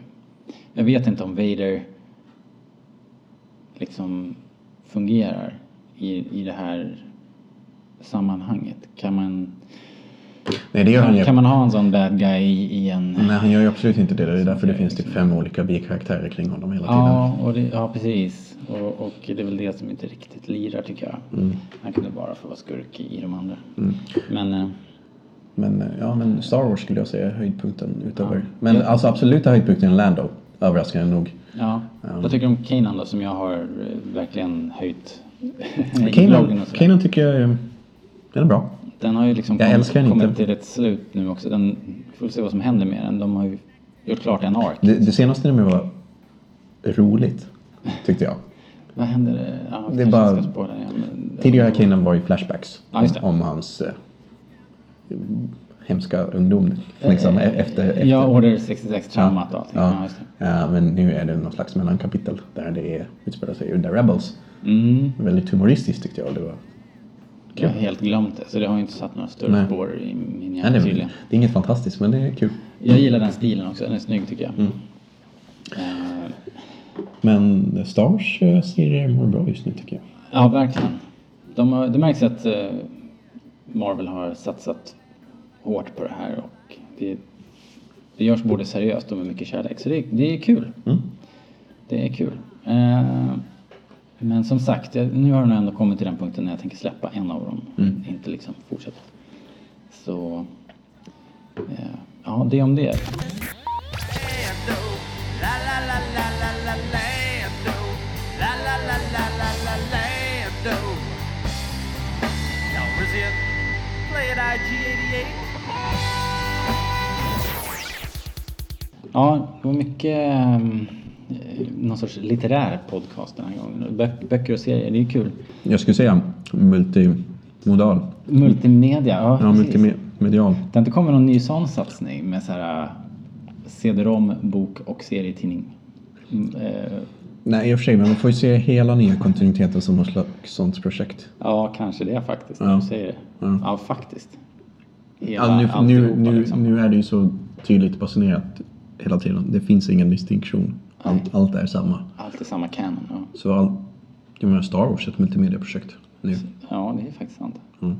jag vet inte om Vader liksom fungerar i, i det här sammanhanget. Kan man, Nej, det gör han ju. kan man ha en sån bad guy i, i en... Nej, han gör ju absolut inte det. Det är därför det finns typ fem olika bikaraktärer kring honom hela tiden. Ja, och det, ja precis. Och, och det är väl det som inte riktigt lirar tycker jag. Mm. Han kunde bara få vara skurk i de andra. Men eh, Men, eh, ja, men Star Wars skulle jag säga är höjdpunkten utöver. Men alltså absoluta höjdpunkten är Lando, överraskande nog. ja, vad tycker du om Kanan då som jag har eh, verkligen höjt? bloggen Kanan, och sådär. Kanan tycker jag är- den är bra. Den har ju liksom Jag kommit, älskar den kommit inte. till ett slut nu också. Den, får vi se vad som händer med den. De har ju gjort klart en ark. Det, det senaste numret var roligt, tyckte jag. Vad händer? Ja, Det det är är bara- Ska spåra, ja, men, Tidigare Kingdom var ju flashbacks Ja, just det. om, om hans eh, hemska ungdom. Liksom, e- efter, efter. Eh, Ja, Order 66-traumat och allting. Ja. Ja. just det. Eh, men nu är det någon slags mellankapitel där det är, utspelar sig under Rebels. Mm. Väldigt humoristiskt tyckte jag. Det var. Jag har helt glömt det, så det har ju inte satt några större Nej. spår i min Ja, hjärna det, är- tydligen. det är inget fantastiskt men det är kul. Jag gillar den stilen också, den är snygg tycker jag. Mm. Eh, Men The Stars eh, serier mår bra just nu tycker jag. ja, verkligen. De har, det märks att eh, Marvel har satsat hårt på det här och det, det görs både seriöst och med mycket kärlek, så det, det är kul. Mm. Det är kul. Eh, men som sagt, jag, nu har jag nog ändå kommit till den punkten när jag tänker släppa en av dem. Mm. Inte liksom fortsätta. Så... Eh, ja, det om det. Ja, det var mycket ehm, eh, någon sorts litterär podcast den här gången. Bö- böcker och serier, det är kul. Jag skulle säga multimodal. Multimedia, ja, Ja, precis. multimedial. Det har inte kommit någon ny sån satsning med så här eh, CD-ROM, bok och serietidning. Mm, eh, Nej i och för sig men man får ju se hela nya kontinuiteten som något slags sånt projekt. Ja, kanske det faktiskt. Ja. när Du säger det. Ja. Ja, faktiskt. Hela, Ja, nu, nu, alltihopa, nu, liksom. nu är det ju så tydligt baserat hela tiden. Det finns ingen distinktion. Allt, allt är samma. Allt i samma canon. Ja. Så all, jag menar Star Wars är ett multimediaprojekt nu. ja, det är faktiskt sant. Mm.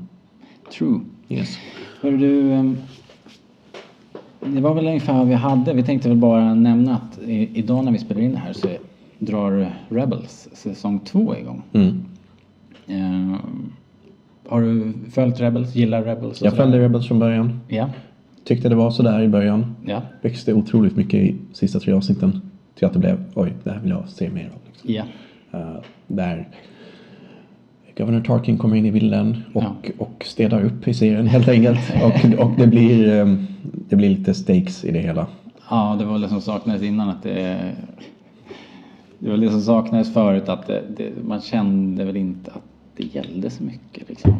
True. Yes. Hör du, ehm, det var väl ungefär vad vi hade. Vi tänkte väl bara nämna att i- idag när vi spelar in det här så drar Rebels säsong två igång. Mm. Ehm, har du följt Rebels? Gillar Rebels? och Jag sådär? följde Rebels från början. Ja. Tyckte det var sådär i början. Ja. Växte otroligt mycket i sista tre avsnitten. Till att det blev oj, det här vill jag se mer av. Liksom. Ja. Eh, där Governor Tarkin kommer in i bilden och, Ja. och städar upp i serien helt enkelt. och och det, blir, ehm, det blir lite stakes i det hela. Ja, det var väl det som saknades innan att det... Det var det som saknades förut att det, det, man kände väl inte att det gällde så mycket liksom.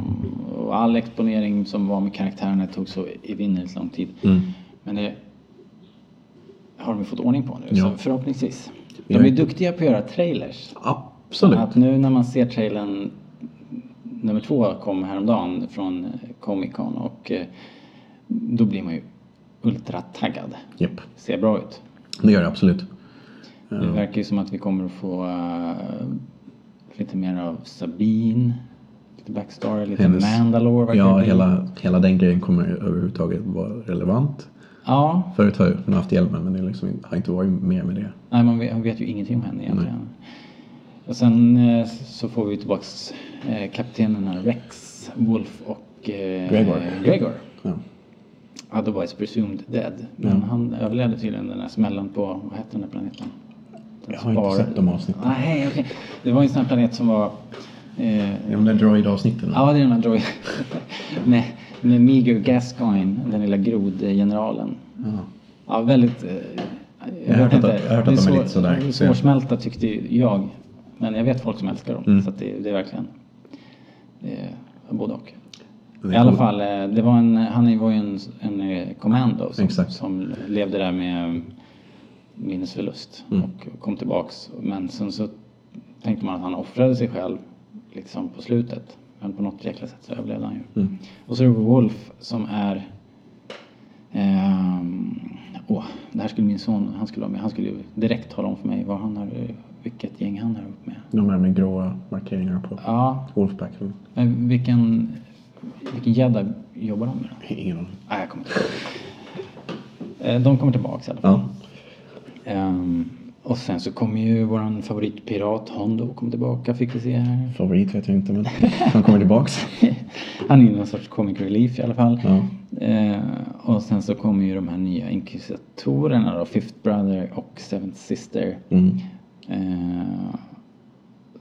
Och all exponering som var med karaktärerna tog så evinnerligt lång tid. Mm. Men det har de ju fått ordning på nu, Ja. så förhoppningsvis. De Ja. är ju duktiga på att göra trailers. Absolut. Att nu när man ser trailern nummer två kom häromdagen från eh, Comic Con och eh, då blir man ju ultrataggad. Japp, Ser bra ut. det gör det absolut. Det verkar ju som att vi kommer att få eh, lite mer av Sabine, lite backstory, lite Hennes- Mandalore. verkar Ja, det bli. hela, hela den grejen kommer överhuvudtaget vara relevant. Ja, Förut har hon haft hjälmen men det liksom, har inte varit mer med det. nej, man vet, man vet ju ingenting om henne egentligen. Och sen eh, så får vi tillbaks eh, kaptenerna Rex, Wolf och eh, Gregor. Gregor. Ja. Otherwise presumed dead. Men han överlevde tydligen den där smällen på, vad hette den där planeten? Den Jag har inte sett de avsnitten. Nej, okej. Det var ju en sån här planet som var eh, De där droid-avsnitten. Ja, det är den här droid. med, med Meager Gascoigne, den lilla grodgeneralen. Ja, väldigt... eh, Jag har hört att- jag har hört Det att de är svår- lite sådär. det är Svårsmälta tyckte ju jag. Men jag vet folk som älskar dem. Mm. Så att det, det är verkligen det är både och. I alla fall, eh, det var en, han var ju en, en eh, kommando som, Exakt. som levde där med eh, minnesförlust och kom tillbaks. Men sen så tänkte man att han offrade sig själv liksom på slutet. Men på något jäkla sätt så överlevde han ju. Och så är det Wolf som är... ehm, åh, det här skulle min son, han skulle vara med. Han skulle ju direkt tala om för mig vad han har, eh, vilket gäng han har upp med. De där med gråa markeringar på Ja, Wolfpack. men vilken, vilken gädda jobbar han med då? Ingen aning. Nej, Ah, jag kommer inte ihåg. Eh, De kommer tillbaks i alla fall. Ja. Ehm, och sen så kommer ju våran favoritpirat Hondo kom tillbaka fick vi se här. Favorit vet jag inte men han kommer tillbaks. Han är ju någon sorts comic relief i alla fall. Ja. Eh, och sen så kommer ju de här nya inkvisitorerna då, Fifth Brother och Seventh Sister. Mm. Eh,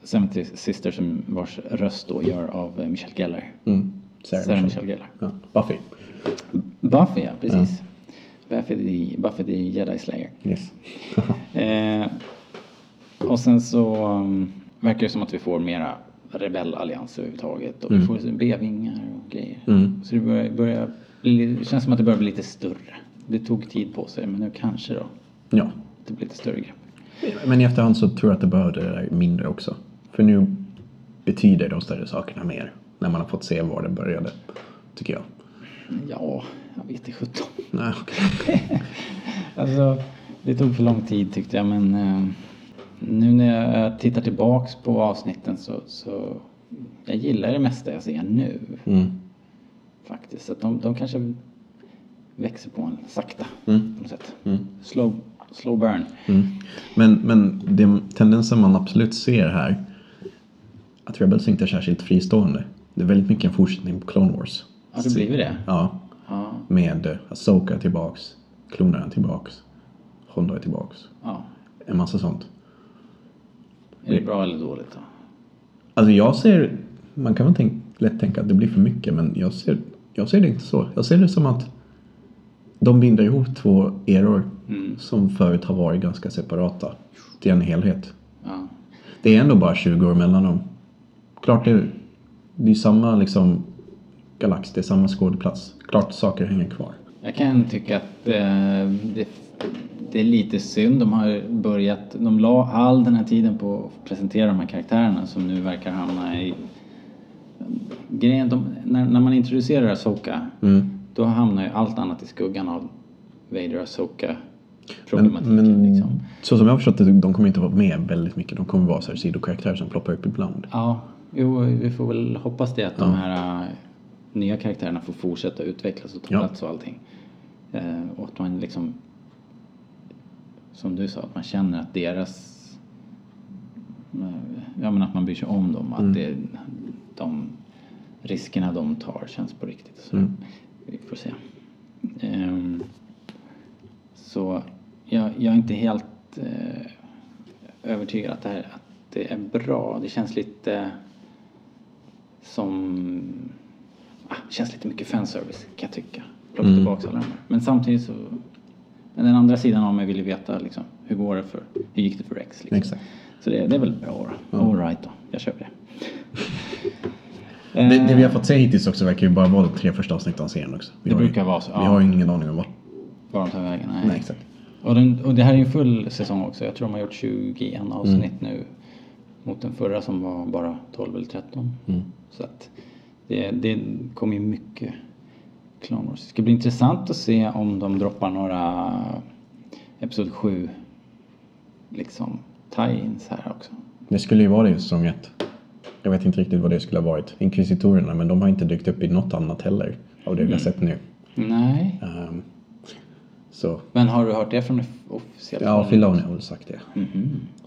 Seventh Sister som vars röst då gör av eh, Michelle Geller. Mm. Sarah Sarah Michelle. Michelle Geller. Ja. Buffy. Buffy ja, precis. Buffy, the, Buffy the Jedi Slayer. Yes. Eh, och sen så um, verkar det som att vi får mera rebellallians överhuvudtaget och vi får B-vingar och grejer. Så det börjar, börjar bli, det känns som att det börjar bli lite större. Det tog tid på sig men nu kanske då. Ja. Det blir lite större grepp. Men i efterhand så tror jag att det behövde det där mindre också. För nu betyder de större sakerna mer. När man har fått se var det började. Tycker jag. Ja, jag vet inte sjutton. Nej, okej. Alltså, det tog för lång tid tyckte jag men eh, nu när jag tittar tillbaks på avsnitten så, så jag gillar det mesta jag ser nu. Faktiskt, så att de, de kanske växer på en sakta på något sätt. Slow, slow burn. Men, men den tendensen man absolut ser här. Att Rebels inte är särskilt fristående. Det är väldigt mycket en fortsättning på Clone Wars. Ja, det blir ju det. Ja. Ja. Med eh, Ahsoka tillbaks. Klonaren tillbaks. Hondo är tillbaks. ja. En massa sånt. Är det bra eller dåligt då? Alltså jag ser, man kan väl tänk, lätt tänka att det blir för mycket men jag ser, jag ser det inte så. Jag ser det som att de binder ihop två eror Mm. som förut har varit ganska separata till en helhet. Ja. Det är ändå bara 20 år mellan dem. Klart det, det är samma liksom galax, det är samma skådeplats. Klart saker hänger kvar. Jag kan tycka att eh, det, det är lite synd. De har börjat, de la all den här tiden på att presentera de här karaktärerna som nu verkar hamna i... Grejen, de, när, när man introducerar Soka Mm. då hamnar ju allt annat i skuggan av Vader och Soka problematiken Men liksom. så som jag har förstått det, de kommer inte vara med väldigt mycket. De kommer vara så här sidokaraktärer som ploppar upp ibland. Ja, jo, vi får väl hoppas det att de här eh, nya karaktärerna får fortsätta utvecklas och ta Ja. plats och allting. Eh, och att man liksom, som du sa, att man känner att deras, eh, ja men att man bryr sig om dem, att det, de riskerna de tar känns på riktigt. Så Vi får se. Ehm, så jag, jag är inte helt eh, övertygad att det, här, att det är bra. Det känns lite som... Ah, det känns lite mycket fanservice kan jag tycka. Plocka Mm. tillbaka alla de här. Men samtidigt så... Men den andra sidan av mig vill ju veta liksom, hur går det för... Hur gick det för Rex? Liksom. Exakt. Så det, det är väl bra då. All right då. Jag köper det. Det, det vi har fått se hittills också verkar ju bara vara de tre första avsnitten av serien också. Vi Det har ju- brukar Mm. vara så, Vi ja. har ju ingen aning om vart. Var de tar vägen? Nej. Nej, exakt. Och, den, och det här är ju en full säsong också. Jag tror de har gjort 21 avsnitt nu. Mot den förra som var bara 12 eller 13. Så att det, det kommer ju mycket Clone Wars. Det ska bli intressant att se om de droppar några Episod 7 liksom tie-ins här också. Det skulle ju vara det i säsong ett. Jag vet inte riktigt vad det skulle ha varit. Inkvisitorerna, men de har inte dykt upp i något annat heller. Av det vi Mm. har sett nu. Nej. Ehm, så, Men har du hört det från det f- officiella? ja, Filoni har väl sagt det. Som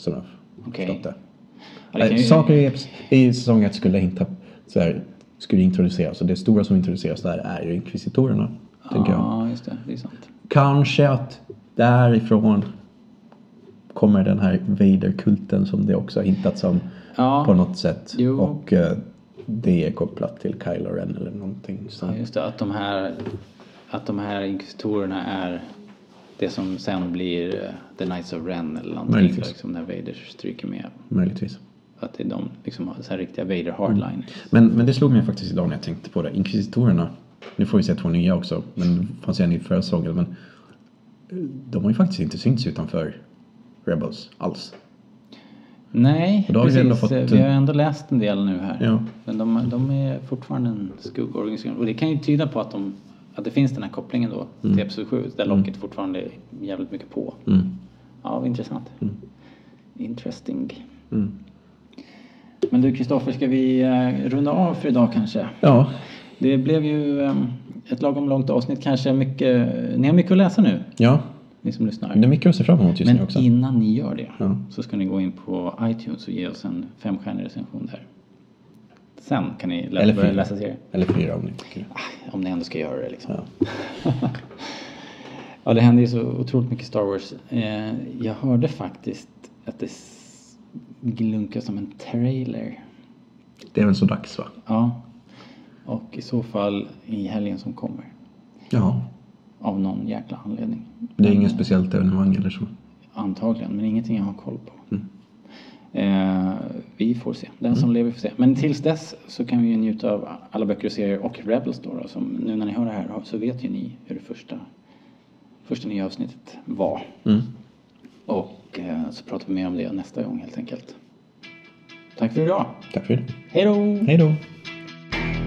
jag har Mm-hmm. Okej. förstått det. Ja, det kan Eh, ju- Saker i, i säsong ett skulle inte ha- så här, skulle introduceras. Och det stora som introduceras där är ju inkvisitorerna. Tänker jag. Ja, just det. Det är sant. Kanske att därifrån kommer den här Vader-kulten som det också har hintats om Ja. på något sätt. Jo. Och eh, det är kopplat till Kylo Ren eller någonting. Så. Ja, just det. Att de här, att de här inkvisitorerna är det som sen blir eh, The Knights of Ren eller någonting. Möjligtvis. Liksom, när Vader stryker med. Möjligtvis. Att det är de liksom, har så här riktiga Vader hardline. Men, men det slog mig faktiskt idag när jag tänkte på det. Inkvisitorerna, nu får vi se två nya också, men det fanns ju en i förra säsongen. Men de har ju faktiskt inte synts utanför Rebels alls. Nej, Och då har vi precis. ändå fått- Eh, Vi har ju ändå läst en del nu här. Ja. Men de, de är fortfarande en skuggorganisation. Och det kan ju tyda på att, de, att det finns den här kopplingen då Mm. till Episod 7 där locket fortfarande är jävligt mycket på. Ja, vad intressant. Mm. Interesting. Men du Kristoffer, ska vi eh, runda av för idag kanske? Ja, Det blev ju eh, ett lagom långt avsnitt kanske. Mycket, ni har mycket att läsa nu, ja. ni som lyssnar. Det är mycket att se fram emot just nu Men också. innan ni gör det så ska ni gå in på iTunes och ge oss en femstjärnig recension där. Sen kan ni lä- Eller börja fyra. läsa serier. Eller fyra om ni tycker det. Om ni ändå ska göra det liksom. Ja. det händer ju så otroligt mycket Star Wars. Eh, jag hörde faktiskt att det s- glunkar som en trailer. Det är väl så dags va? Ja. Och i så fall i helgen som kommer. Ja. Av någon jäkla anledning. Det är inget speciellt evenemang eller så. Antagligen, men ingenting jag har koll på. Eh, vi får se. Den som lever får se. Men tills dess så kan vi ju njuta av alla böcker och serier och Rebels då, då som nu när ni hör det här så vet ju ni hur det första, första nya avsnittet var. Och eh, så pratar vi mer om det nästa gång helt enkelt. Tack för idag. Tack för det. Hej då! Hej då.